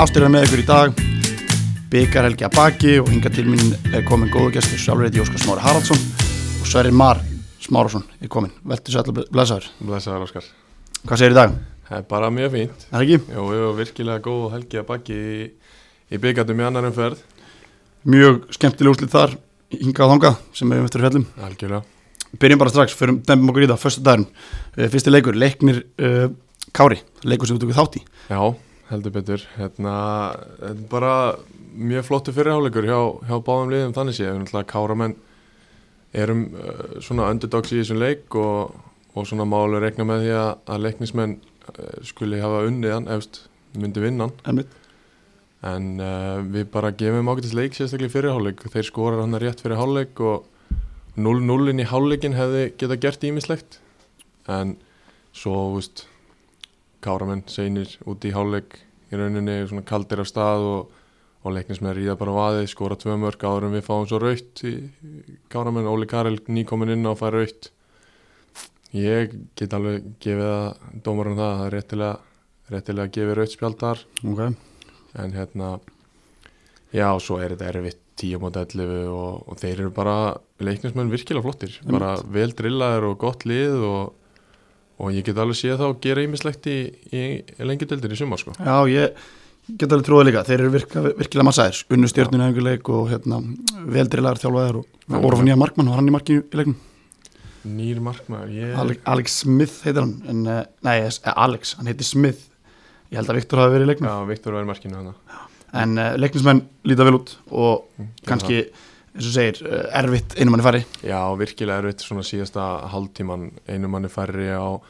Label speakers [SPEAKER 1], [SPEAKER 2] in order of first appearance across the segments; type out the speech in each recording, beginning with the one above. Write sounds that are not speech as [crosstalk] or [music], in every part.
[SPEAKER 1] Ástyrðan með ykkur í dag Byggar Helgi að baki og hinga til mín er komin góðu gestur sjálfreiti Óskar Smári Haraldsson og Sverrir Mar Smárásson er komin Veltu sætla blessaður
[SPEAKER 2] Blessaður Óskar
[SPEAKER 1] Hvað segir í dag?
[SPEAKER 2] Það er bara mjög fínt
[SPEAKER 1] Er það ekki?
[SPEAKER 2] Jó, við varum virkilega góð helgi að baki í, í byggandum í annar umferð
[SPEAKER 1] Mjög skemmtileg úslit þar hinga á þanga sem við um eftir fjallum
[SPEAKER 2] Algjörlega
[SPEAKER 1] Byrjum bara strax, förum dæmum okkur í það Föstu dagurinn, Eh, fyrsti leikur, leiknir uh, Kári, leikur sem þú tökur þátt í
[SPEAKER 2] Já, heldur betur Hérna, þetta er bara mjög flottu fyrirháleikur hjá, hjá báðum liðum þannig séð Þannig að káramenn erum uh, svona underdogs í þessum leik og, og svona málu rekna með því að, að leiknismenn uh, skuli hafa unnið hann efst myndi vinna hann
[SPEAKER 1] Einmitt.
[SPEAKER 2] En uh, við bara gefum ágætis leik sérstaklega í fyrirháleik. Þeir skorar hann rétt fyrir háleik og 0-0 inn í háleikin hefði geta gert ímislegt. En svo, veist, káramenn seinir út í háleik í rauninni svona kaldir af stað og, og leiknins með að ríða bara á vaðið, skora tvö mörg áður en við fáum svo raukt. Káramenn, Óli Karel nýkominn inn á að færa raukt. Ég get alveg gefið að dómarum það, það er réttilega, réttilega gefið raukt spjald þar
[SPEAKER 1] okay.
[SPEAKER 2] en hérna já, svo er þetta erfitt 10 mot 11 og, og þeir eru bara leiknismenn virkilega flottir, bara vel drillaðir og gott lið og, og ég get alveg séð þá gera ímislegt í, í, í lengjadeildinni í sumar sko.
[SPEAKER 1] Já, ég get alveg trúið líka, þeir eru virka, virkilega massaðir, unnu stjórninu einhverleik og hérna, veldrilaðar þjálfaðar og orfa nýja markmann, var hann í markinu í leiknum
[SPEAKER 2] nýr markmaður, ég
[SPEAKER 1] Alex, Alex Smith heitir hann en, eh, nei, eh, Alex, hann heitir Smith ég held að Viktor hafi verið í leiknum
[SPEAKER 2] já, Viktor verður markinu hana
[SPEAKER 1] en uh, leiknismenn líta vel út og kannski, eins og segir, uh, erfitt einum manni fari
[SPEAKER 2] Já, virkilega erfitt svona síðasta hálftíman einu manni færri á,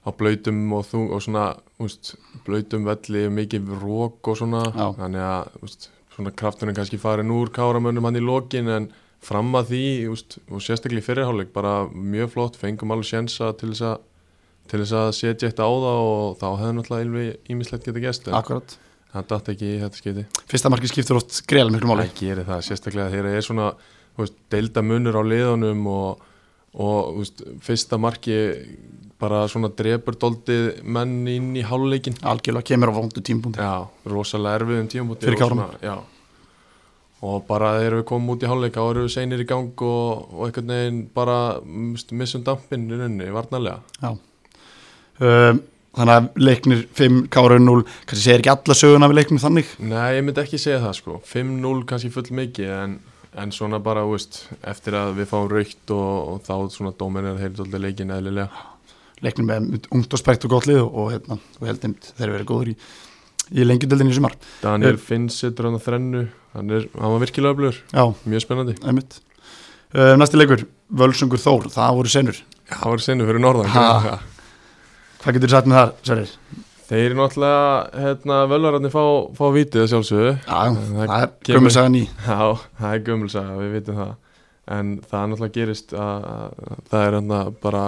[SPEAKER 2] á blöytum og, þung, og svona úst, blöytum velli, mikið rók og svona,
[SPEAKER 1] Já.
[SPEAKER 2] þannig að úst, svona krafturinn kannski farin úr káramönnum hann í lokin en fram að því úst, og sérstaklega í fyrirháleik bara mjög flott, fengum alveg sjensa til þess að til þess að setja eitt á það og þá hefði náttúrulega ylvi ímislegt geta gæst en
[SPEAKER 1] akkurat,
[SPEAKER 2] það datt ekki í þetta skipti
[SPEAKER 1] fyrsta marki skiptur oft greiðlega miklu máli,
[SPEAKER 2] Það gerir það, sérstaklega þegar það er svona þú veist, deilda munur á liðunum og, og þú veist, fyrsta marki bara svona drepur doldið menn inn í háluleikin
[SPEAKER 1] algjörlega kemur á vondu tímpundi
[SPEAKER 2] Já, rosalega erfiðum tímabúti
[SPEAKER 1] Fyrir Kárum.
[SPEAKER 2] Já Og bara þegar við komum út í háluleika og erum við seinir í gang og, og einhvern veginn bara þú veist, missum dampinn í rauninni, varnarlega
[SPEAKER 1] Já. Um, þannig að leiknir 5, Kára 0 kannski segir ekki alla söguna við leiknum þannig
[SPEAKER 2] Nei, ég myndi ekki segja það sko 5-0 kannski full mikið en, en svona bara, þú veist, eftir að við fáum raukt og, og þá svona dóminir heyrðu alltaf leikin eðlilega
[SPEAKER 1] leiknum með ungt og spækt og gott lið og, hérna, og heldum þeir verið góður í, í lengjudöldinni í sumar
[SPEAKER 2] Daniel Finn setur hann að þrennu hann, er, hann var virkilega öflugur,
[SPEAKER 1] Já,
[SPEAKER 2] mjög spennandi
[SPEAKER 1] einmitt um, Næsti leikur, Völsungur Þór, það voru senur
[SPEAKER 2] Það var senu fyrir norðan
[SPEAKER 1] Ha.
[SPEAKER 2] greinilega.
[SPEAKER 1] Hvað getur sagt um með þar, Sverir?
[SPEAKER 2] Þeir náttúrulega, hérna, völvararnir fá, fá vitið að sjálfsögðu
[SPEAKER 1] Já,
[SPEAKER 2] Það
[SPEAKER 1] það er
[SPEAKER 2] kemur-
[SPEAKER 1] gömur sagan í
[SPEAKER 2] Já, það er gömulsaga, við vitum það en það er náttúrulega gerist að, að það er hérna bara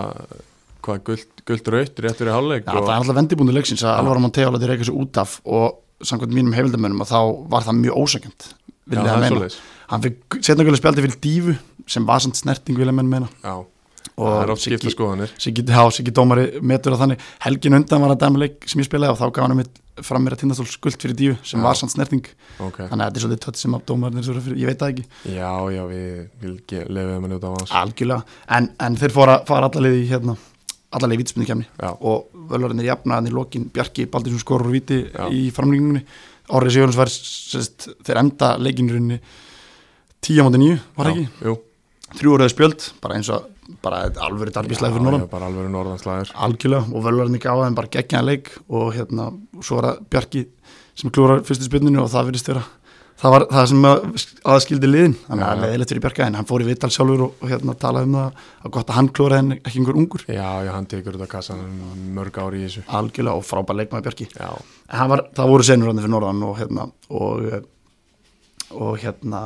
[SPEAKER 2] hvað, guld, guld raut rétt fyrir hálfleik
[SPEAKER 1] Já, það er alltaf vendibúndu leiksins að Alvaro Monteo letið reykja sig út af og samkvæmt mínum heimildamönnum og þá var það mjög ósækjönd
[SPEAKER 2] Já, það er svoleiðis
[SPEAKER 1] Hann fikk setna gulega spjaldi fyrir dífu sem var samt snerting vilja menn meina
[SPEAKER 2] Já,
[SPEAKER 1] og
[SPEAKER 2] það er oft skipta skoðanir
[SPEAKER 1] Siggi, já, Siggi Dómari metur að þannig helgin undan var að dæma leik sem ég spilaði og þá gaf hann um fram mér að tindastól skuld fyrir dífu sem
[SPEAKER 2] Já.
[SPEAKER 1] var samt snerting
[SPEAKER 2] okay.
[SPEAKER 1] þannig að þetta er svolítið tött sem að dómarinn er svo fyrir, ég veit það ekki
[SPEAKER 2] Já, já, við lefiðum að njóta á
[SPEAKER 1] Ah,
[SPEAKER 2] hans
[SPEAKER 1] algjörlega, en, en þeir fóra, fara allalegi í hérna, allalegi vítspunni kemni
[SPEAKER 2] Já,
[SPEAKER 1] og völarinn er jafnaðan í lokin Bjarki Baldinsson skorur úr víti
[SPEAKER 2] Já.
[SPEAKER 1] í framlýningunni Orri Sigurins var sérst, þeir enda leikinrunni 10 mútið 9 var það
[SPEAKER 2] já,
[SPEAKER 1] ekki,
[SPEAKER 2] Jú,
[SPEAKER 1] þrjú orðið spjöld bara eins og, bara alvöru darbíslega fyrir
[SPEAKER 2] Já,
[SPEAKER 1] Norðan
[SPEAKER 2] já, bara alveg norðanslæður
[SPEAKER 1] algjörlega og völarinn ekki á þeim bara geggjaðan leik og hérna, svo var það Bjarki sem klúrar fyrstu spilninu og það virðist vera það var það sem að, aðskildi liðin þannig
[SPEAKER 2] Já,
[SPEAKER 1] að
[SPEAKER 2] já.
[SPEAKER 1] leðilegt fyrir Bjarka en hann fór í viðtal sjálfur og, og hérna talaði um það að gott að hann klúraði en ekki einhver ungur
[SPEAKER 2] Já, já, hann tekur þetta kassan mörg ári í þessu
[SPEAKER 1] algjörlega og frábær leikmaði Bjarki
[SPEAKER 2] Já,
[SPEAKER 1] En hann var, það voru senur hann fyrir norðan og hérna og, eh, og hérna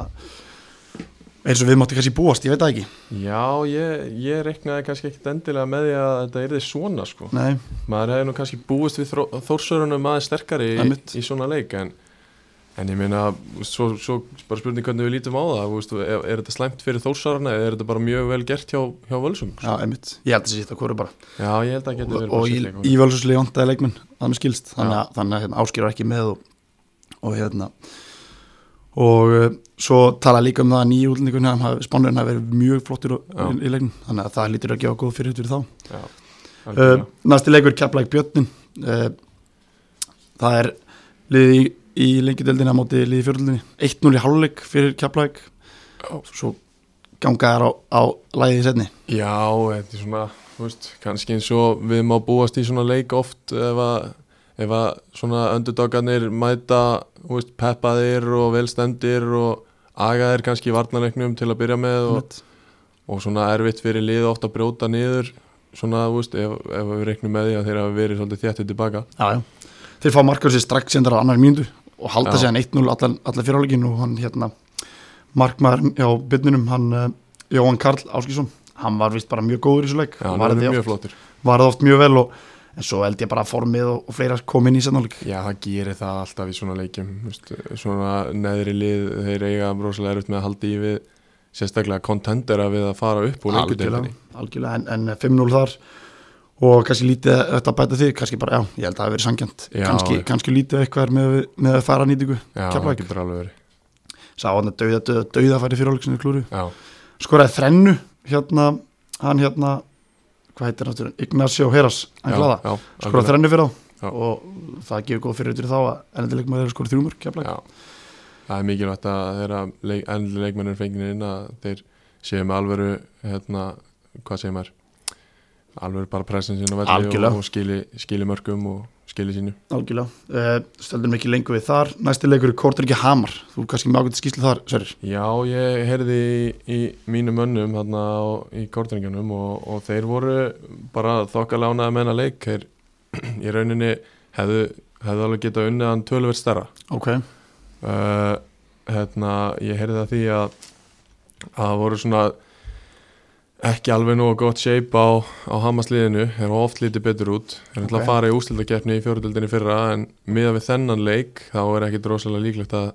[SPEAKER 1] eins og við mátti kannski búast, ég veit það ekki
[SPEAKER 2] já ég, ég reknaði kannski ekkit endilega með því að þetta yrði svona sko
[SPEAKER 1] Nei,
[SPEAKER 2] Maður hefði nú kannski búist við þórsörunum aðeins sterkari í,
[SPEAKER 1] Einmitt.
[SPEAKER 2] í svona leik en, en ég meina, þú veist, svo, svo bara spurning hvernig við lítum á það þú veist, er, er þetta slæmt fyrir þórsöruna eða er þetta bara mjög vel gert hjá, hjá Völsung?
[SPEAKER 1] já, einmitt, ég held að þessi þetta hverju bara
[SPEAKER 2] Já, ég held að það geti verið
[SPEAKER 1] og í,
[SPEAKER 2] bara sérleikur.
[SPEAKER 1] í völsuslega jontaði leikmenn, þannig skilst þannig að, þannig að hérna, áskýra ekki með og, og hérna og uh, svo tala líka um það að nýju útlendingunum spánurinn hafi verið mjög flottir og-
[SPEAKER 2] Já.
[SPEAKER 1] í, í leiknum þannig að það lítur að gefa góð fyrirhut fyrir þá
[SPEAKER 2] já,
[SPEAKER 1] uh,
[SPEAKER 2] algjörlega.
[SPEAKER 1] næsti leikur Keflæk Björnin uh, það er liðið í, í lengjadeildina á móti liðið í fjörðildinni 1-0 í hálfleik fyrir Keflæk
[SPEAKER 2] Já.
[SPEAKER 1] svo ganga þær á, á lægið í setni
[SPEAKER 2] já, þetta er svona þú veist, kannski eins og við má búast í svona leik oft ef að, ef að svona öndudagarnir mæta þú veist, peppaðir og velstendir og agaðir kannski í varnarleiknum til að byrja með og, og svona erfitt fyrir lið oft að brjóta niður svona, þú veist, ef, ef við reiknum með því að þeir hafa verið svolítið þjættið tilbaka
[SPEAKER 1] já, já. þeir fá markur sér strax sendar á annar mínútu og halda
[SPEAKER 2] Já.
[SPEAKER 1] sér 1-0 allan, allan fyrirháleikin og hann hérna markmaður hjá byrninum hann uh, Jóhann Karl Áskísson hann var vist bara mjög góður í þessu leik
[SPEAKER 2] Já, hann
[SPEAKER 1] var
[SPEAKER 2] er
[SPEAKER 1] það
[SPEAKER 2] mjög
[SPEAKER 1] oft,
[SPEAKER 2] flottur
[SPEAKER 1] varði oft mjög vel og, en svo held ég bara að formið og, og fleira kom inn í setnáleik
[SPEAKER 2] Já, það gerir það alltaf í svona leikjum veist, svona neðri lið þeir eiga rosalega erut með að halda í við sérstaklega kontendera við að fara upp úr lengjudeildinni.
[SPEAKER 1] algjörlega en, en 5-0 þar og kannski lítið þetta bæta því, kannski bara, já, ég held að það hafi verið sangjant
[SPEAKER 2] Já,
[SPEAKER 1] kannski,
[SPEAKER 2] já.
[SPEAKER 1] kannski lítið eitthvað með, með að fara nýtingu
[SPEAKER 2] Já, það
[SPEAKER 1] Keflavík.
[SPEAKER 2] getur alveg verið
[SPEAKER 1] sá hann að dauða, dauða, dauða færi fyrir áleik sem við klúru
[SPEAKER 2] Já,
[SPEAKER 1] skoraði þrennu hérna, hann hérna hvað heitir hann aftur, Ignacio Heras hann
[SPEAKER 2] já,
[SPEAKER 1] glaða,
[SPEAKER 2] já,
[SPEAKER 1] skoraði
[SPEAKER 2] algjörlega.
[SPEAKER 1] þrennu fyrir þá
[SPEAKER 2] Já.
[SPEAKER 1] og það gefur góð fyrir þá að endileg maður er að skora þrjumur keflæk,
[SPEAKER 2] Já, það er mikilvægt að þeirra leik, endli leikmennir fengir inn að þeir séu með alvöru hérna, hvað segir maður alvöru bara pressin sín á velli
[SPEAKER 1] Algjörlega.
[SPEAKER 2] og, og skili, skili mörgum og skili sínu
[SPEAKER 1] algjörlega uh, stöldum ekki lengur við þar, næsti leikur er Kortriki Hamar, þú ert kannski með ágætti skýslu þar, Sverrir
[SPEAKER 2] Já, ég heyrði í, í mínum önnum þarna á- í kortringunum og, og þeir voru bara þokkalánaði með hennar leik þeir [clears throat] í rauninni hefðu, hefðu alveg getað unnið hann tölverð stærra
[SPEAKER 1] ok,
[SPEAKER 2] uh, hérna, ég heyrði það því að að það voru svona ekki alveg nógu gott shape á, á Hamasliðinu, þeir eru oft lítið betur út þeir eru okay.
[SPEAKER 1] Ok.
[SPEAKER 2] að fara í ústildakeppni í fjóruðildinni fyrra en miða við þennan leik þá er ekki drosalega líklegt að,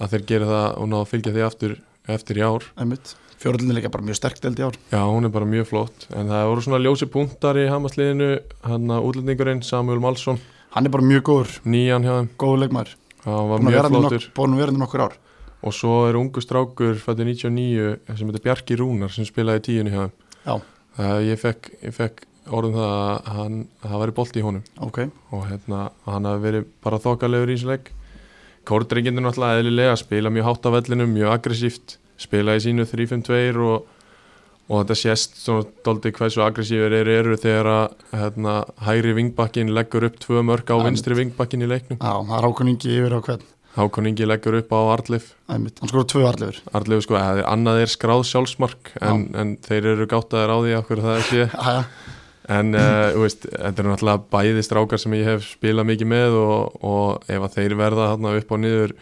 [SPEAKER 2] að þeir gera það og ná að fylgja því aftur eftir í ár
[SPEAKER 1] einmitt, fjóröldin leika bara mjög sterk delt í ár
[SPEAKER 2] Já, hún er bara mjög flott en það voru svona ljósi punktar í Hamasliðinu hann að útlendingurinn Samuel Malsson
[SPEAKER 1] hann er bara mjög góður,
[SPEAKER 2] nýjan hjá þeim,
[SPEAKER 1] góður leikmaður
[SPEAKER 2] hann var
[SPEAKER 1] búin að
[SPEAKER 2] mjög
[SPEAKER 1] vera hann í
[SPEAKER 2] flottur
[SPEAKER 1] nokk- búin að vera hann í nokkur ár
[SPEAKER 2] og svo er ungu strákur fættu 99 sem heitir Bjarki Rúnar sem spilaði í tíunni hjá þeim
[SPEAKER 1] Já.
[SPEAKER 2] uh, ég, fekk, ég fekk orðum það að hann, að það væri bolti í honum
[SPEAKER 1] ok,
[SPEAKER 2] og hérna, hann hafi verið bara þokkalegur í þessu leik Kórdrengindur náttúrulega eðlilega spila mjög hátt á vellinu, mjög aggressíft spila í sínu 3-5-2 og, og þetta sést svona doldi hversu aggressífur þeir eru þegar að hérna, hægri vingbakkin leggur upp tvö mörg á
[SPEAKER 1] Einmitt.
[SPEAKER 2] vinstri vingbakkin í leiknum
[SPEAKER 1] já, það er ákunningi yfir á hvern
[SPEAKER 2] Hákon Ingi leggur upp á Arlif
[SPEAKER 1] einmitt, hann skorur tvö arlegur
[SPEAKER 2] Arlif sko, eða annað er skráð sjálfsmark en, en þeir eru gáttaðir á því okkur það sé
[SPEAKER 1] já, já,
[SPEAKER 2] En uh, þú veist, þetta eru náttúrulega bæði strákar sem ég hef spilað mikið með og, og ef að þeir verða þarna upp og niður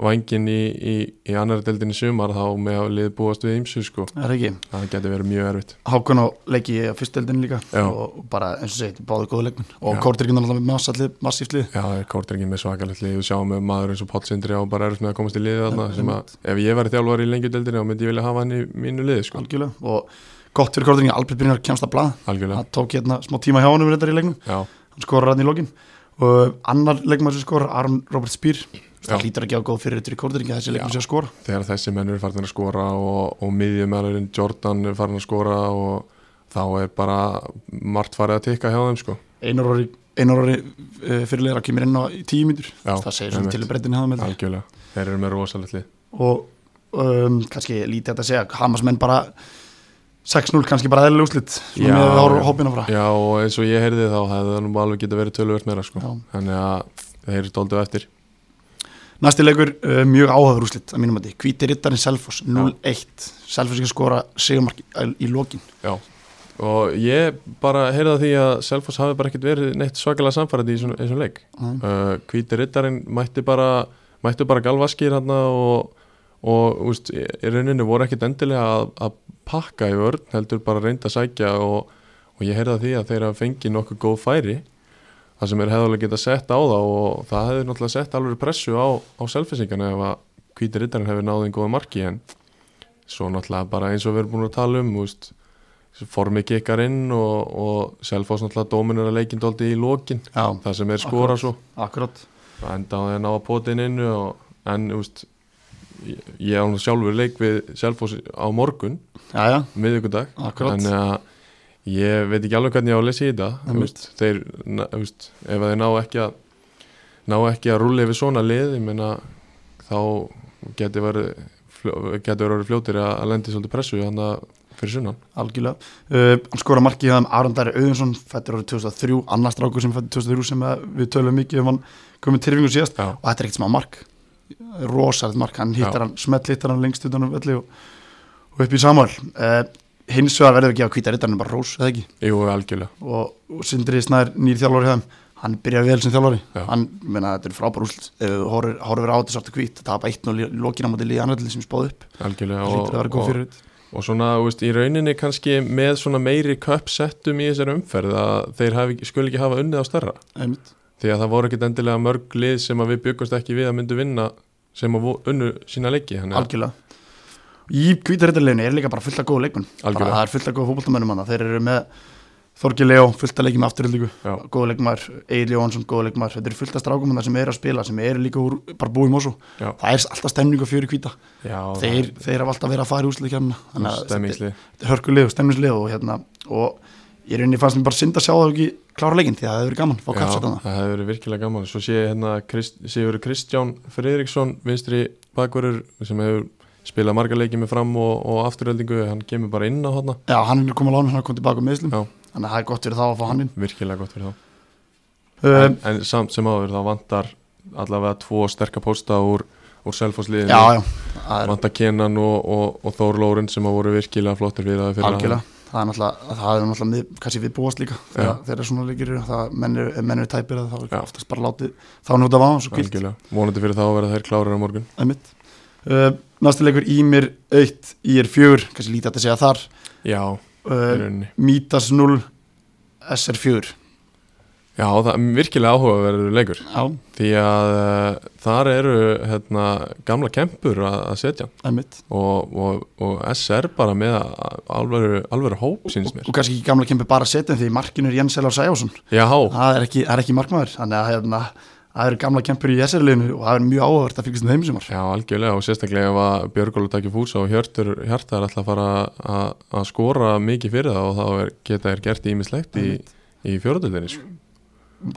[SPEAKER 2] vangin í, í, í annar deildinni sumar þá með að lið búast við ýmsu sko.
[SPEAKER 1] er það ekki
[SPEAKER 2] Það getur verið mjög erfitt.
[SPEAKER 1] Hákon á leiki á fyrsteldin líka
[SPEAKER 2] Já.
[SPEAKER 1] og bara eins og segið, báðu góða leikmenn og
[SPEAKER 2] Já.
[SPEAKER 1] Kortrikinn er alltaf með massalli, massíflið
[SPEAKER 2] Já, það er kórtringin með svakalegt lið og sjáum með maður eins og Páll Sindri á bara erfitt með að komast í liðið þarna
[SPEAKER 1] Já,
[SPEAKER 2] sem að ef ég verið þjálfar í lengju deildinni þá myndi ég vilja hafa hann í mínu liði sko.
[SPEAKER 1] algjörlega og gott fyrir Kortrikinn, Albert Brynjar kemst að blað
[SPEAKER 2] Algjörlega.
[SPEAKER 1] hann tók hérna smá tíma hjá hann um reyndar í leiknum
[SPEAKER 2] Já,
[SPEAKER 1] hann skorar hann í lokin og annar leikmann sem skorar, Aron Robert Spýr
[SPEAKER 2] Já.
[SPEAKER 1] það hlýtur að gefa góð fyrir yttur í Kortrikinn þessi leikmann sem skora
[SPEAKER 2] þegar þessi menn eru farin að skora og, og miðjumælarinn Jordan er farin að skora og þá er bara margt farið að tikka hjá þeim sko.
[SPEAKER 1] Einar orri, einar orri uh, fyrirleira kemur inn á í tíu mínútur
[SPEAKER 2] Já,
[SPEAKER 1] það segir svona
[SPEAKER 2] einmitt.
[SPEAKER 1] til um breytin hafa með
[SPEAKER 2] Algjörlega, þeir eru með rosalegt lið
[SPEAKER 1] og um, kannski lítið þetta að segja Hamas menn bara 6-0 kannski bara eðlileg úslit
[SPEAKER 2] Já,
[SPEAKER 1] svona með að
[SPEAKER 2] já.
[SPEAKER 1] horfa hópina frá
[SPEAKER 2] Já og eins og ég heyrði þá hefði það nú alveg getið verið töluvert meira sko
[SPEAKER 1] Já.
[SPEAKER 2] Þannig að þeir eru doldið eftir
[SPEAKER 1] Næsti leikur, uh, mjög áhafður úslit að mínum að því, hvíti rittarinn Selfoss 0-1, Selfoss ekki skora sigumark í, í lokin,
[SPEAKER 2] Já Og ég bara heyrði af því að Selfoss hafi bara ekkert verið neitt svakalega samfærandi í svona- í þessum leik
[SPEAKER 1] Nei.
[SPEAKER 2] uh, Hvíti rittarinn mætti bara mætti bara galvaskir hann og, og úst, í í rauninni voru ekkert endilega að, að pakka í vörn heldur bara reynda að sækja og, og ég heyrði af því að þeir hafa fengið nokkuð góð færi það sem er hefðarlega geta sett á þá og það hefði náttúrulega sett alveg pressu á, á selfinsingana ef að hvíti rittarinn hefði náðið en góða marki en svo náttúrulega bara eins og við erum búin að tala um úst, formið kikkar inn og, og selfos náttúrulega dóminur að leikindóldi í lokin
[SPEAKER 1] já,
[SPEAKER 2] það sem er skora svo
[SPEAKER 1] akkurat
[SPEAKER 2] Það enda á því að ná að pota inn innu og, en úst, ég, ég á nú sjálfur leik við Selfoss á morgun,
[SPEAKER 1] já, já,
[SPEAKER 2] miðvikudag
[SPEAKER 1] Akkurat.
[SPEAKER 2] þannig að ég veit ekki alveg hvernig ég á að lesa í þetta
[SPEAKER 1] Einmitt.
[SPEAKER 2] úst, þeir, na, úst, ef þeir ná ekki að ná ekki að rúli yfir svona lið ég meina, þá geti verið fljó- geti verið fljótir að, að lendi svolítið pressu þannig að fyrir sunnan
[SPEAKER 1] algjörlega uh, hann skora markið um Arndari Auðinsson fættur árið 2003, annars strákur sem fættur 2003 sem að við töluðum mikið um hann komið tyrfingu síðast
[SPEAKER 2] Já.
[SPEAKER 1] og þetta er ekkert smá mark rosalegt mark, hann hittar
[SPEAKER 2] Já.
[SPEAKER 1] hann smelt hittar hann lengst utan um velli og, og upp í Samuel uh, hins vegar verðum við að gefa kvítar rittarinn bara rós, eða ekki
[SPEAKER 2] Jú, algjörlega
[SPEAKER 1] og, og Sindri Snær, nýr þjálfari hjá þeim hann byrjaði vel sem þjálfari
[SPEAKER 2] Já.
[SPEAKER 1] hann, ég meina, þetta er frábær úrslit ef þú horfir horfir á þetta svart og hvít, það er bara 1-0 lokina mútið liðið annaðlið sem spáði upp
[SPEAKER 2] algjörlega
[SPEAKER 1] það hlýtur að vera góð
[SPEAKER 2] og,
[SPEAKER 1] fyrir
[SPEAKER 2] og svona, þú veist, í rauninni kannski með svona meiri köpsettum í þessari umferð að þeir hafi, skuli ekki hafa unnið á starra
[SPEAKER 1] einmitt,
[SPEAKER 2] því að það voru ekkit endilega mörg lið sem að við byggumst ekki við að myndu vinna sem að vo- unnu sína leiki þannig að
[SPEAKER 1] algjörlega í kvítarittarleginu er líka bara fullt af góðu leikmenn bara,
[SPEAKER 2] Algjörlega.
[SPEAKER 1] það er fullt af góðu fótboltamönnum hann þeir eru með Þorgi Leó, fullt af leikjum afturhildingu
[SPEAKER 2] Já.
[SPEAKER 1] góðu leikmaður, Egil Jónsson, góðu leikmaður þetta eru fullt af strákum hann sem eru að spila sem eru líka úr, bara búið mósu
[SPEAKER 2] Já.
[SPEAKER 1] það er alltaf stemning og fjöri kvíta
[SPEAKER 2] já,
[SPEAKER 1] þeir, þeir hafa alltaf verið að fara í úsleikjafna
[SPEAKER 2] stemmingsli
[SPEAKER 1] hörkulegu, stemmislegu og hérna og ég rauninni fannst mér bara synd að sjá það ekki klára leikinn því að það hefur verið gaman að fá
[SPEAKER 2] Já,
[SPEAKER 1] kapsett hana
[SPEAKER 2] það hefur verið virkilega gaman svo sé ég hérna Krist, Sigur Kristján Friðriksson vinstri bakverður sem hefur spilað marga leiki með fram og, og afturöldingu hann kemur bara inn á hana
[SPEAKER 1] Já, hann er komið á lánu, hann er komið tilbaka með Íslim
[SPEAKER 2] Já.
[SPEAKER 1] þannig að það er gott fyrir þá að fá hann inn
[SPEAKER 2] virkilega gott fyrir þá
[SPEAKER 1] um,
[SPEAKER 2] en, en samt sem áður þá vantar allavega tvo sterka pósta úr, úr selfosliðinu
[SPEAKER 1] Já, já, það er
[SPEAKER 2] vantar Kenan og, og, og Þór Lóren sem að voru virkilega flottir fyrir það fyrir
[SPEAKER 1] algjörlega það er náttúrulega, það er náttúrulega mið, kannski við búast líka þegar, þegar svona leikir eru, það menn eru ef menn eru tæpir að það er
[SPEAKER 2] Já.
[SPEAKER 1] oftast bara látið þá nút af á hans og kvilt,
[SPEAKER 2] Algjörlega, vonandi fyrir þá að vera þær klárar á morgun
[SPEAKER 1] það er mitt uh, næsti leikur Ímir 1, Ír 4 kannski lítið hægt að segja þar
[SPEAKER 2] Já, í
[SPEAKER 1] uh,
[SPEAKER 2] rauninni
[SPEAKER 1] Mítas 0 SR 4
[SPEAKER 2] Já, það er virkilega áhugaverður leikur
[SPEAKER 1] Já,
[SPEAKER 2] Því að uh, þar eru hérna, gamla kempur að, að setja
[SPEAKER 1] það er mitt
[SPEAKER 2] og, og, og SR bara með að- alvöru, alvöru hóp síns mér
[SPEAKER 1] og kannski ekki gamla kempi bara setin því markinu er Jens Elvar Sæjásson
[SPEAKER 2] Já,
[SPEAKER 1] það er ekki, það er ekki markmaður þannig að hérna, það eru gamla kempur í SR-liðinu og það er mjög áhugavert að fylgjast með þeim sem var
[SPEAKER 2] já algjörlega og sérstaklega ef að Björgólu takir fúsa og Hjörtur Hjarta er alltaf að fara að- að skora mikið fyrir það og þá er, geta þær gert ímislegt í, í fjóratöldinni sko.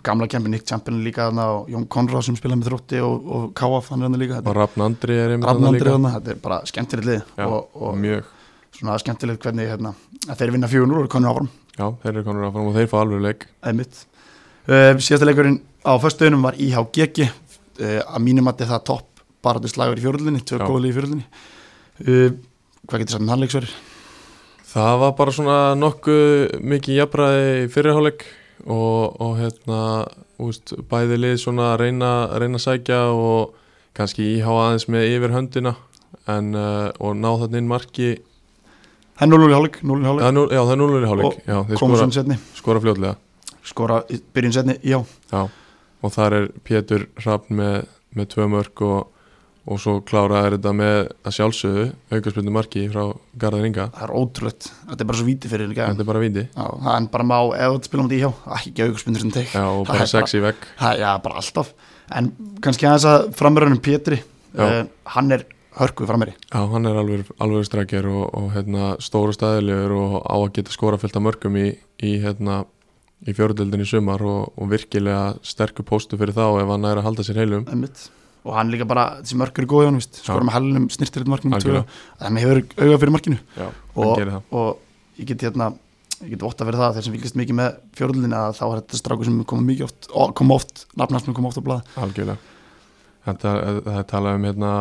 [SPEAKER 1] gamla kempi Nick Champion er líka þarna og Jón Konrad sem spilaði með þrótti og, og KF hann er þarna líka
[SPEAKER 2] og Rafn Andri er einmitt þarna
[SPEAKER 1] Rafnandri
[SPEAKER 2] líka.
[SPEAKER 1] þarna, þetta er bara skemmtilegt lið
[SPEAKER 2] Já,
[SPEAKER 1] og, og
[SPEAKER 2] mjög
[SPEAKER 1] svona skemmtilegt hvernig hérna, að þeir vinna 4-0 og eru konur áfram
[SPEAKER 2] Já, þeir eru konur áfram og þeir fá alveg leik
[SPEAKER 1] eða mitt uh, síðasta leikurinn á föstuðunum var IHGG uh, að mínum að þetta topp bara til slagur í fjörðlinni, tvö
[SPEAKER 2] Já.
[SPEAKER 1] góðli í fjörðlinni uh, hvað getur sagt um þannleiksveri?
[SPEAKER 2] Það var bara svona nokkuð mikið jafnræði í fyrirháleik og, og hérna úst, bæði lið svona að reyna, reyna að sækja og kannski íhá aðeins með yfir höndina en, uh, og ná þarna inn marki
[SPEAKER 1] Það er 0-0 í hálfleik, 0-0 í
[SPEAKER 2] það
[SPEAKER 1] hálfleik
[SPEAKER 2] er núl, Já, það er núlur í
[SPEAKER 1] Og
[SPEAKER 2] háleik Já,
[SPEAKER 1] komum
[SPEAKER 2] þeir skora,
[SPEAKER 1] svona setni,
[SPEAKER 2] skora fljótlega
[SPEAKER 1] skora í byrjun setni, já
[SPEAKER 2] Já, og þar er Pétur Hrafn með, með tvö mörg og, og svo kláraði þetta með að sjálfsögðu aukarspilnu marki frá Garðar Inga
[SPEAKER 1] það er ótrúlegt, þetta er bara svo víti fyrir líka
[SPEAKER 2] Þetta er bara vindi
[SPEAKER 1] Já, það er bara má, ef þú spilum þetta í hjá ekki ekki aukurspundur sem teik
[SPEAKER 2] Já, og
[SPEAKER 1] Það er
[SPEAKER 2] bara
[SPEAKER 1] bara-
[SPEAKER 2] sex í vegg
[SPEAKER 1] það, já, bara alltaf, en kannski aðeins að framverðunum Pétri
[SPEAKER 2] Já.
[SPEAKER 1] uh, hann er hörkuð framverði
[SPEAKER 2] Já, hann er alveg, alveg strækjar og, og hérna, stóra staðilegur og á að geta skora fyllt af mörgum í, í, hérna, í fjörudeldinni sumar og, og virkilega sterkur póstu fyrir þá ef hann er að halda sér heilum.
[SPEAKER 1] einmitt. og hann líka bara, þessi mörk eru góði hann, víst
[SPEAKER 2] Já.
[SPEAKER 1] skora með hellinum, snirtir þetta markinu tvö.
[SPEAKER 2] Algjörlega.
[SPEAKER 1] hann hefur auga fyrir markinu
[SPEAKER 2] Já, hann
[SPEAKER 1] og,
[SPEAKER 2] gerir það.
[SPEAKER 1] og ég get hérna ég get votta fyrir það, þeir sem fylgist mikið með fjörðlinni að þá er þetta stráku sem koma mikið oft ó, koma oft, nafnast með koma oft á blað
[SPEAKER 2] Algjörlega. Þetta það er talað um hérna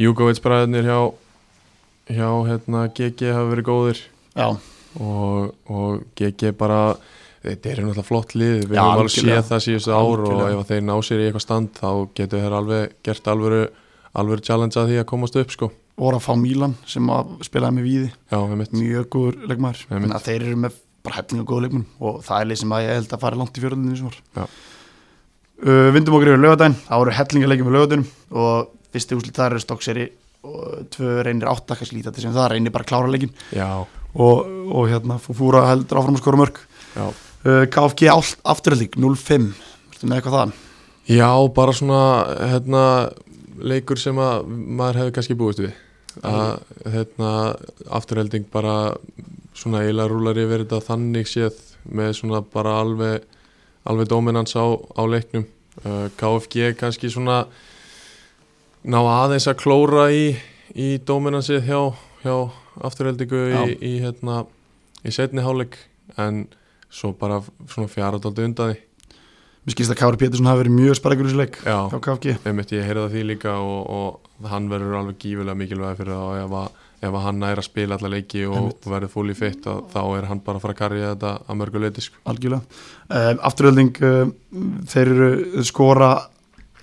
[SPEAKER 2] Júkovits bræðinir hjá, hjá hérna, GG hafa verið góðir
[SPEAKER 1] já,
[SPEAKER 2] og, og GG bara þetta eru náttúrulega flott lið
[SPEAKER 1] Já,
[SPEAKER 2] við höfum alveg
[SPEAKER 1] algjörlega.
[SPEAKER 2] séð það síðustu ár og
[SPEAKER 1] Algjörlega.
[SPEAKER 2] ef að þeir ná sér í eitthvað stand þá getur þeir alveg gert alvöru alvöru challenge að því að komast upp sko
[SPEAKER 1] voru að fá Mílan sem að spilaði með Víði,
[SPEAKER 2] já, við mitt,
[SPEAKER 1] mjög góður leikmaður,
[SPEAKER 2] Einmitt.
[SPEAKER 1] þannig að þeir eru með bara hellinga góð leikmenn og það er leið sem að ég held að fara langt í fjörðinni sem var
[SPEAKER 2] Já.
[SPEAKER 1] uh, Vindum okkur yfir lögadaginn, það voru hellinga leikir með lögadaginn og fyrsti úslit þar eru stokkseri og tvö reynir átta kannski lítið sem það reynir bara að klára leikin
[SPEAKER 2] já,
[SPEAKER 1] og, og hérna fúra heldur áfram að skora mörg
[SPEAKER 2] já
[SPEAKER 1] uh, KFG áll- afturhalding 0-5, verður með eitthvað þaðan
[SPEAKER 2] Já, bara svona hérna, leikur sem að maður hefði kannski búist við að hérna, afturhelding bara svona eiginlega rúlar yfir þetta þannig séð með svona bara alveg alveg dominans á, á leiknum uh, KFG kannski svona ná aðeins að klóra í, í dominansið hjá, hjá afturheldingu í,
[SPEAKER 1] Já.
[SPEAKER 2] í, hérna, í setni hálfleik en svo bara f- svona fjaradaldi undan því
[SPEAKER 1] Mér skilst að Kári Pétursson hafi verið mjög sparkur í þessu leik
[SPEAKER 2] Já.
[SPEAKER 1] hjá KFG.
[SPEAKER 2] Einmitt, ég heyrði það því líka og, og hann verður alveg gífilega mikilvæg fyrir það og ef, að, ef að hann næri að spila alla leiki og,
[SPEAKER 1] Einmitt.
[SPEAKER 2] og verður fúli fitt að, þá er hann bara að fara að karja þetta að mörgu leiti sko.
[SPEAKER 1] algjörlega um, afturölding um, þeir eru skora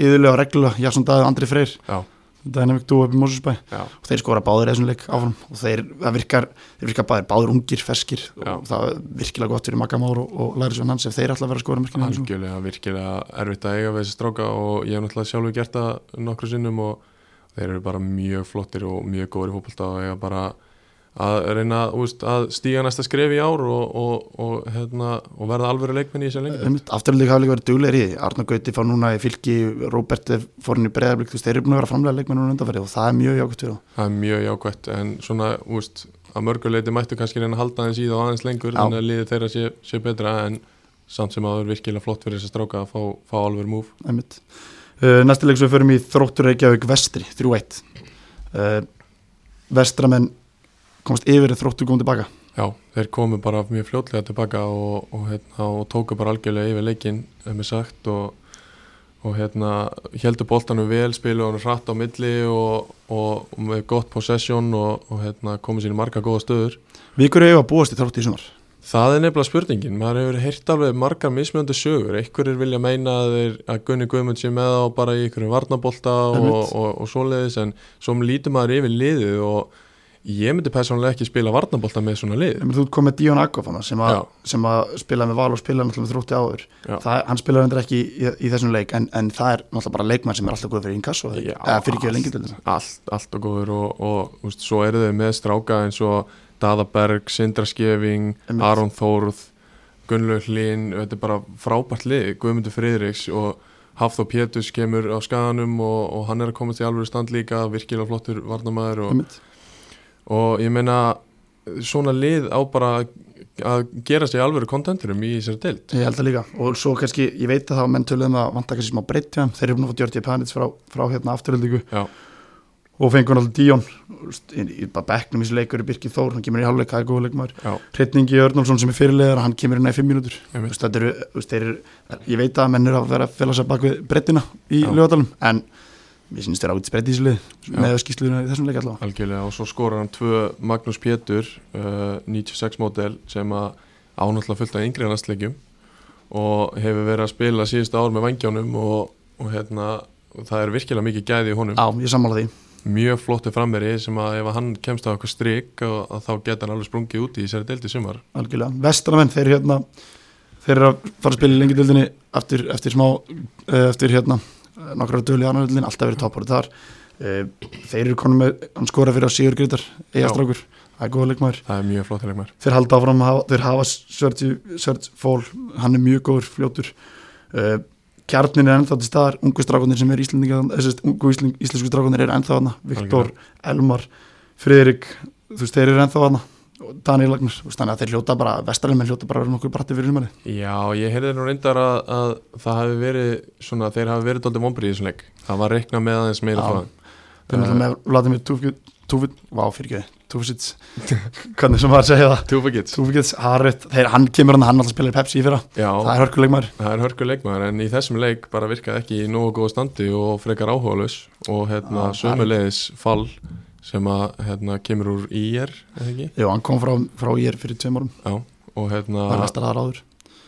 [SPEAKER 1] yðurlega og reglulega, Jason Daði og Andri Freyr
[SPEAKER 2] Já.
[SPEAKER 1] Dynamic Duo upp í Mósusbæ
[SPEAKER 2] Já.
[SPEAKER 1] og þeir skora báðir eða leik áfram og þeir, það virkar, þeir virkar báðir báðir ungir, ferskir
[SPEAKER 2] Já.
[SPEAKER 1] og það er virkilega gott fyrir Magamár og, og Læri Svon Hans ef þeir ætla að vera að skora mörkina í þessu.
[SPEAKER 2] algjörlega virkilega erfitt að eiga við þessi stráka og ég hef náttúrulega sjálfur gert það nokkru sinnum og þeir eru bara mjög flottir og mjög góður í fótbolta og eiga bara að reyna úst, að stíga næsta skref í ár og, og, og, hérna, og verða alvöru leikmenn í þessu lengi
[SPEAKER 1] Einmitt, afturölding hafi líka verið duglegir í því Arna Gauti fá núna í fylki, Róbert er fórin í breyðarblik, þú veist, þeir eru búin að vera framlega leikmenn núna undanferði og það er mjög jákvæmt fyrir þá
[SPEAKER 2] Það er mjög jákvæmt en svona, úst, að mörguleiti mættu kannski reyna að halda aðeins í það og aðeins lengur
[SPEAKER 1] Já.
[SPEAKER 2] þannig að liði þeirra sé, sé betra en samt sem að það er virkilega flott fyrir þess að stráka að fá, fá alveg múf.
[SPEAKER 1] Einmitt. Uh, næsti leik sem við förum í Þróttur Reykjavík vestri, 3-1 uh, Vestramenn komast yfir en Þróttur kom tilbaka
[SPEAKER 2] Já, þeir komu bara mjög fljótlega tilbaka og, og, hérna, og tóku bara algjörlega yfir leikinn, ef mér sagt og, og hérna, heldur boltanum vel, spilu hann hratt á milli og, og, og með gott possession og, og hérna, komu sín í marga góða stöður.
[SPEAKER 1] Við hverju hefur að búast í Þróttur í sumar
[SPEAKER 2] Það er nefnilega spurningin, maður hefur heyrt alveg margar mismjöndu sögur, einhverjir vilja meina að, þeir, að Gunni Guðmund sé með á bara í einhverjum varnabolta og, og,
[SPEAKER 1] Einmitt.
[SPEAKER 2] og, svoleiðis en svo lítur maður yfir liðið og ég myndi persónulega ekki spila varnabolta með svona lið.
[SPEAKER 1] Nefnir, Þú ert komið Díon Akof hana, sem, að-
[SPEAKER 2] Já.
[SPEAKER 1] sem að spilaði með val og spilaði náttúrulega með Þrótti áður
[SPEAKER 2] Já.
[SPEAKER 1] það, Hann spilaði hendur ekki í, í, í þessum leik en, en það er náttúrulega bara leikmann sem er alltaf góð fyrir inkass og
[SPEAKER 2] Já,
[SPEAKER 1] eða fyrir ekki lengi til þess
[SPEAKER 2] Allt, allt og góður og, og úst, svo eru þau með stráka eins og Daðaberg, Sindraskefing,
[SPEAKER 1] Einmitt.
[SPEAKER 2] Aron Þórð, Gunnlaug Hlín, þetta er bara frábært lið, Guðmundur Friðriks og Hafþó Pétus kemur á skaganum og, og hann er að komast í alvöru stand líka, virkilega flottur varnamæður og,
[SPEAKER 1] Einmitt.
[SPEAKER 2] og ég meina svona lið á bara að gera sig alvöru kontenturum í þessari deild.
[SPEAKER 1] Ég held það líka og svo kannski, ég veit að það menn töluðum að vanta kannski smá breytt hjá þeim þeir eru búin að fá Djörti Panits frá, frá hérna afturöldingu
[SPEAKER 2] Já,
[SPEAKER 1] og fengur náttúrulega Díón úst, í, í bara bekknum í þessu leikur er Birkir Þór hann kemur í hálfleik, það er góð leikmaður
[SPEAKER 2] já,
[SPEAKER 1] Hreitningi Örnálsson sem er fyrirlegar, hann kemur inn í fimm mínútur
[SPEAKER 2] Einmitt.
[SPEAKER 1] Úst, þetta eru, úst, þeir, eru- ég veit að menn eru að vera að fela sér bak við brettina í
[SPEAKER 2] Já.
[SPEAKER 1] lögadalum en mér finnst þeir ágætt spretti í þessu lið
[SPEAKER 2] Já.
[SPEAKER 1] með skýsluðuna í þessum leik allavega
[SPEAKER 2] Algjörlega og svo skorar hann tvö Magnús Pétur uh, 96 mótel sem að ánáttúrulega fullt af yngri næstleikjum og hefur verið að spila síðustu ár með vangjónum og, og hérna og það er virkilega mikið gæði í honum
[SPEAKER 1] Já, ég sammála því,
[SPEAKER 2] mjög flottu frammeri sem að ef hann kemst á eitthvað strik og, að þá geta hann alveg sprungið út í þessari deildi sumar
[SPEAKER 1] algjörlega Vestramenn, þeir hérna þeir eru að fara að spila í lengi dildinni eftir, eftir smá, eh, eftir hérna nokkrar döl í annar dildin, alltaf verið toppar þar Eh, þeir eru konum með, hann skora fyrir á Sigur Greitar, eigastrákur það er góða leikmaður
[SPEAKER 2] það er mjög flott leikmar
[SPEAKER 1] þeir halda áfram að hafa, þeir hafa Sergi- Serge Fól, hann er mjög góður fljótur uh, kjarnin er ennþá til staðar, ungu strákunir sem er íslendingar þessast ungu ísling, íslensku strákunir er ennþá hana Viktor, Elmar, Friðrik þú veist, þeir eru ennþá hana og Daniel Lagnar, þú veist, þannig að þeir hljóta bara vestarlemenn hljóta bara að vera nokkuð bratti fyrir umhverfið
[SPEAKER 2] Já, ég heyrði nú reyndar að, að það hafi verið svona, þeir hafi verið dóldi vombrið í þessum leik það var reikna með aðeins meira
[SPEAKER 1] Já.
[SPEAKER 2] frá þeim.
[SPEAKER 1] þeir eru náttúrulega með Vladimir Tufkit Tufkit, vá fyrir ekki, Tufkits hvernig sem maður segja það
[SPEAKER 2] Eh, Two Forgets.
[SPEAKER 1] Tufkits, Harrit, þeir, hann kemur hann, hann alltaf spilaði Pepsi í fyrra,
[SPEAKER 2] Já,
[SPEAKER 1] það er hörkuleik maður
[SPEAKER 2] Það er hörku leikmaður en í þessum leik bara virkaði ekki í nógu góða standi og frekar áhugaðlaus og hérna
[SPEAKER 1] Já,
[SPEAKER 2] sömuleiðis fall sem að hérna kemur úr IR eða ekki?
[SPEAKER 1] Jú, hann kom frá, frá ég fyrir tveim árum,
[SPEAKER 2] Já, og hérna
[SPEAKER 1] var vestarðar áður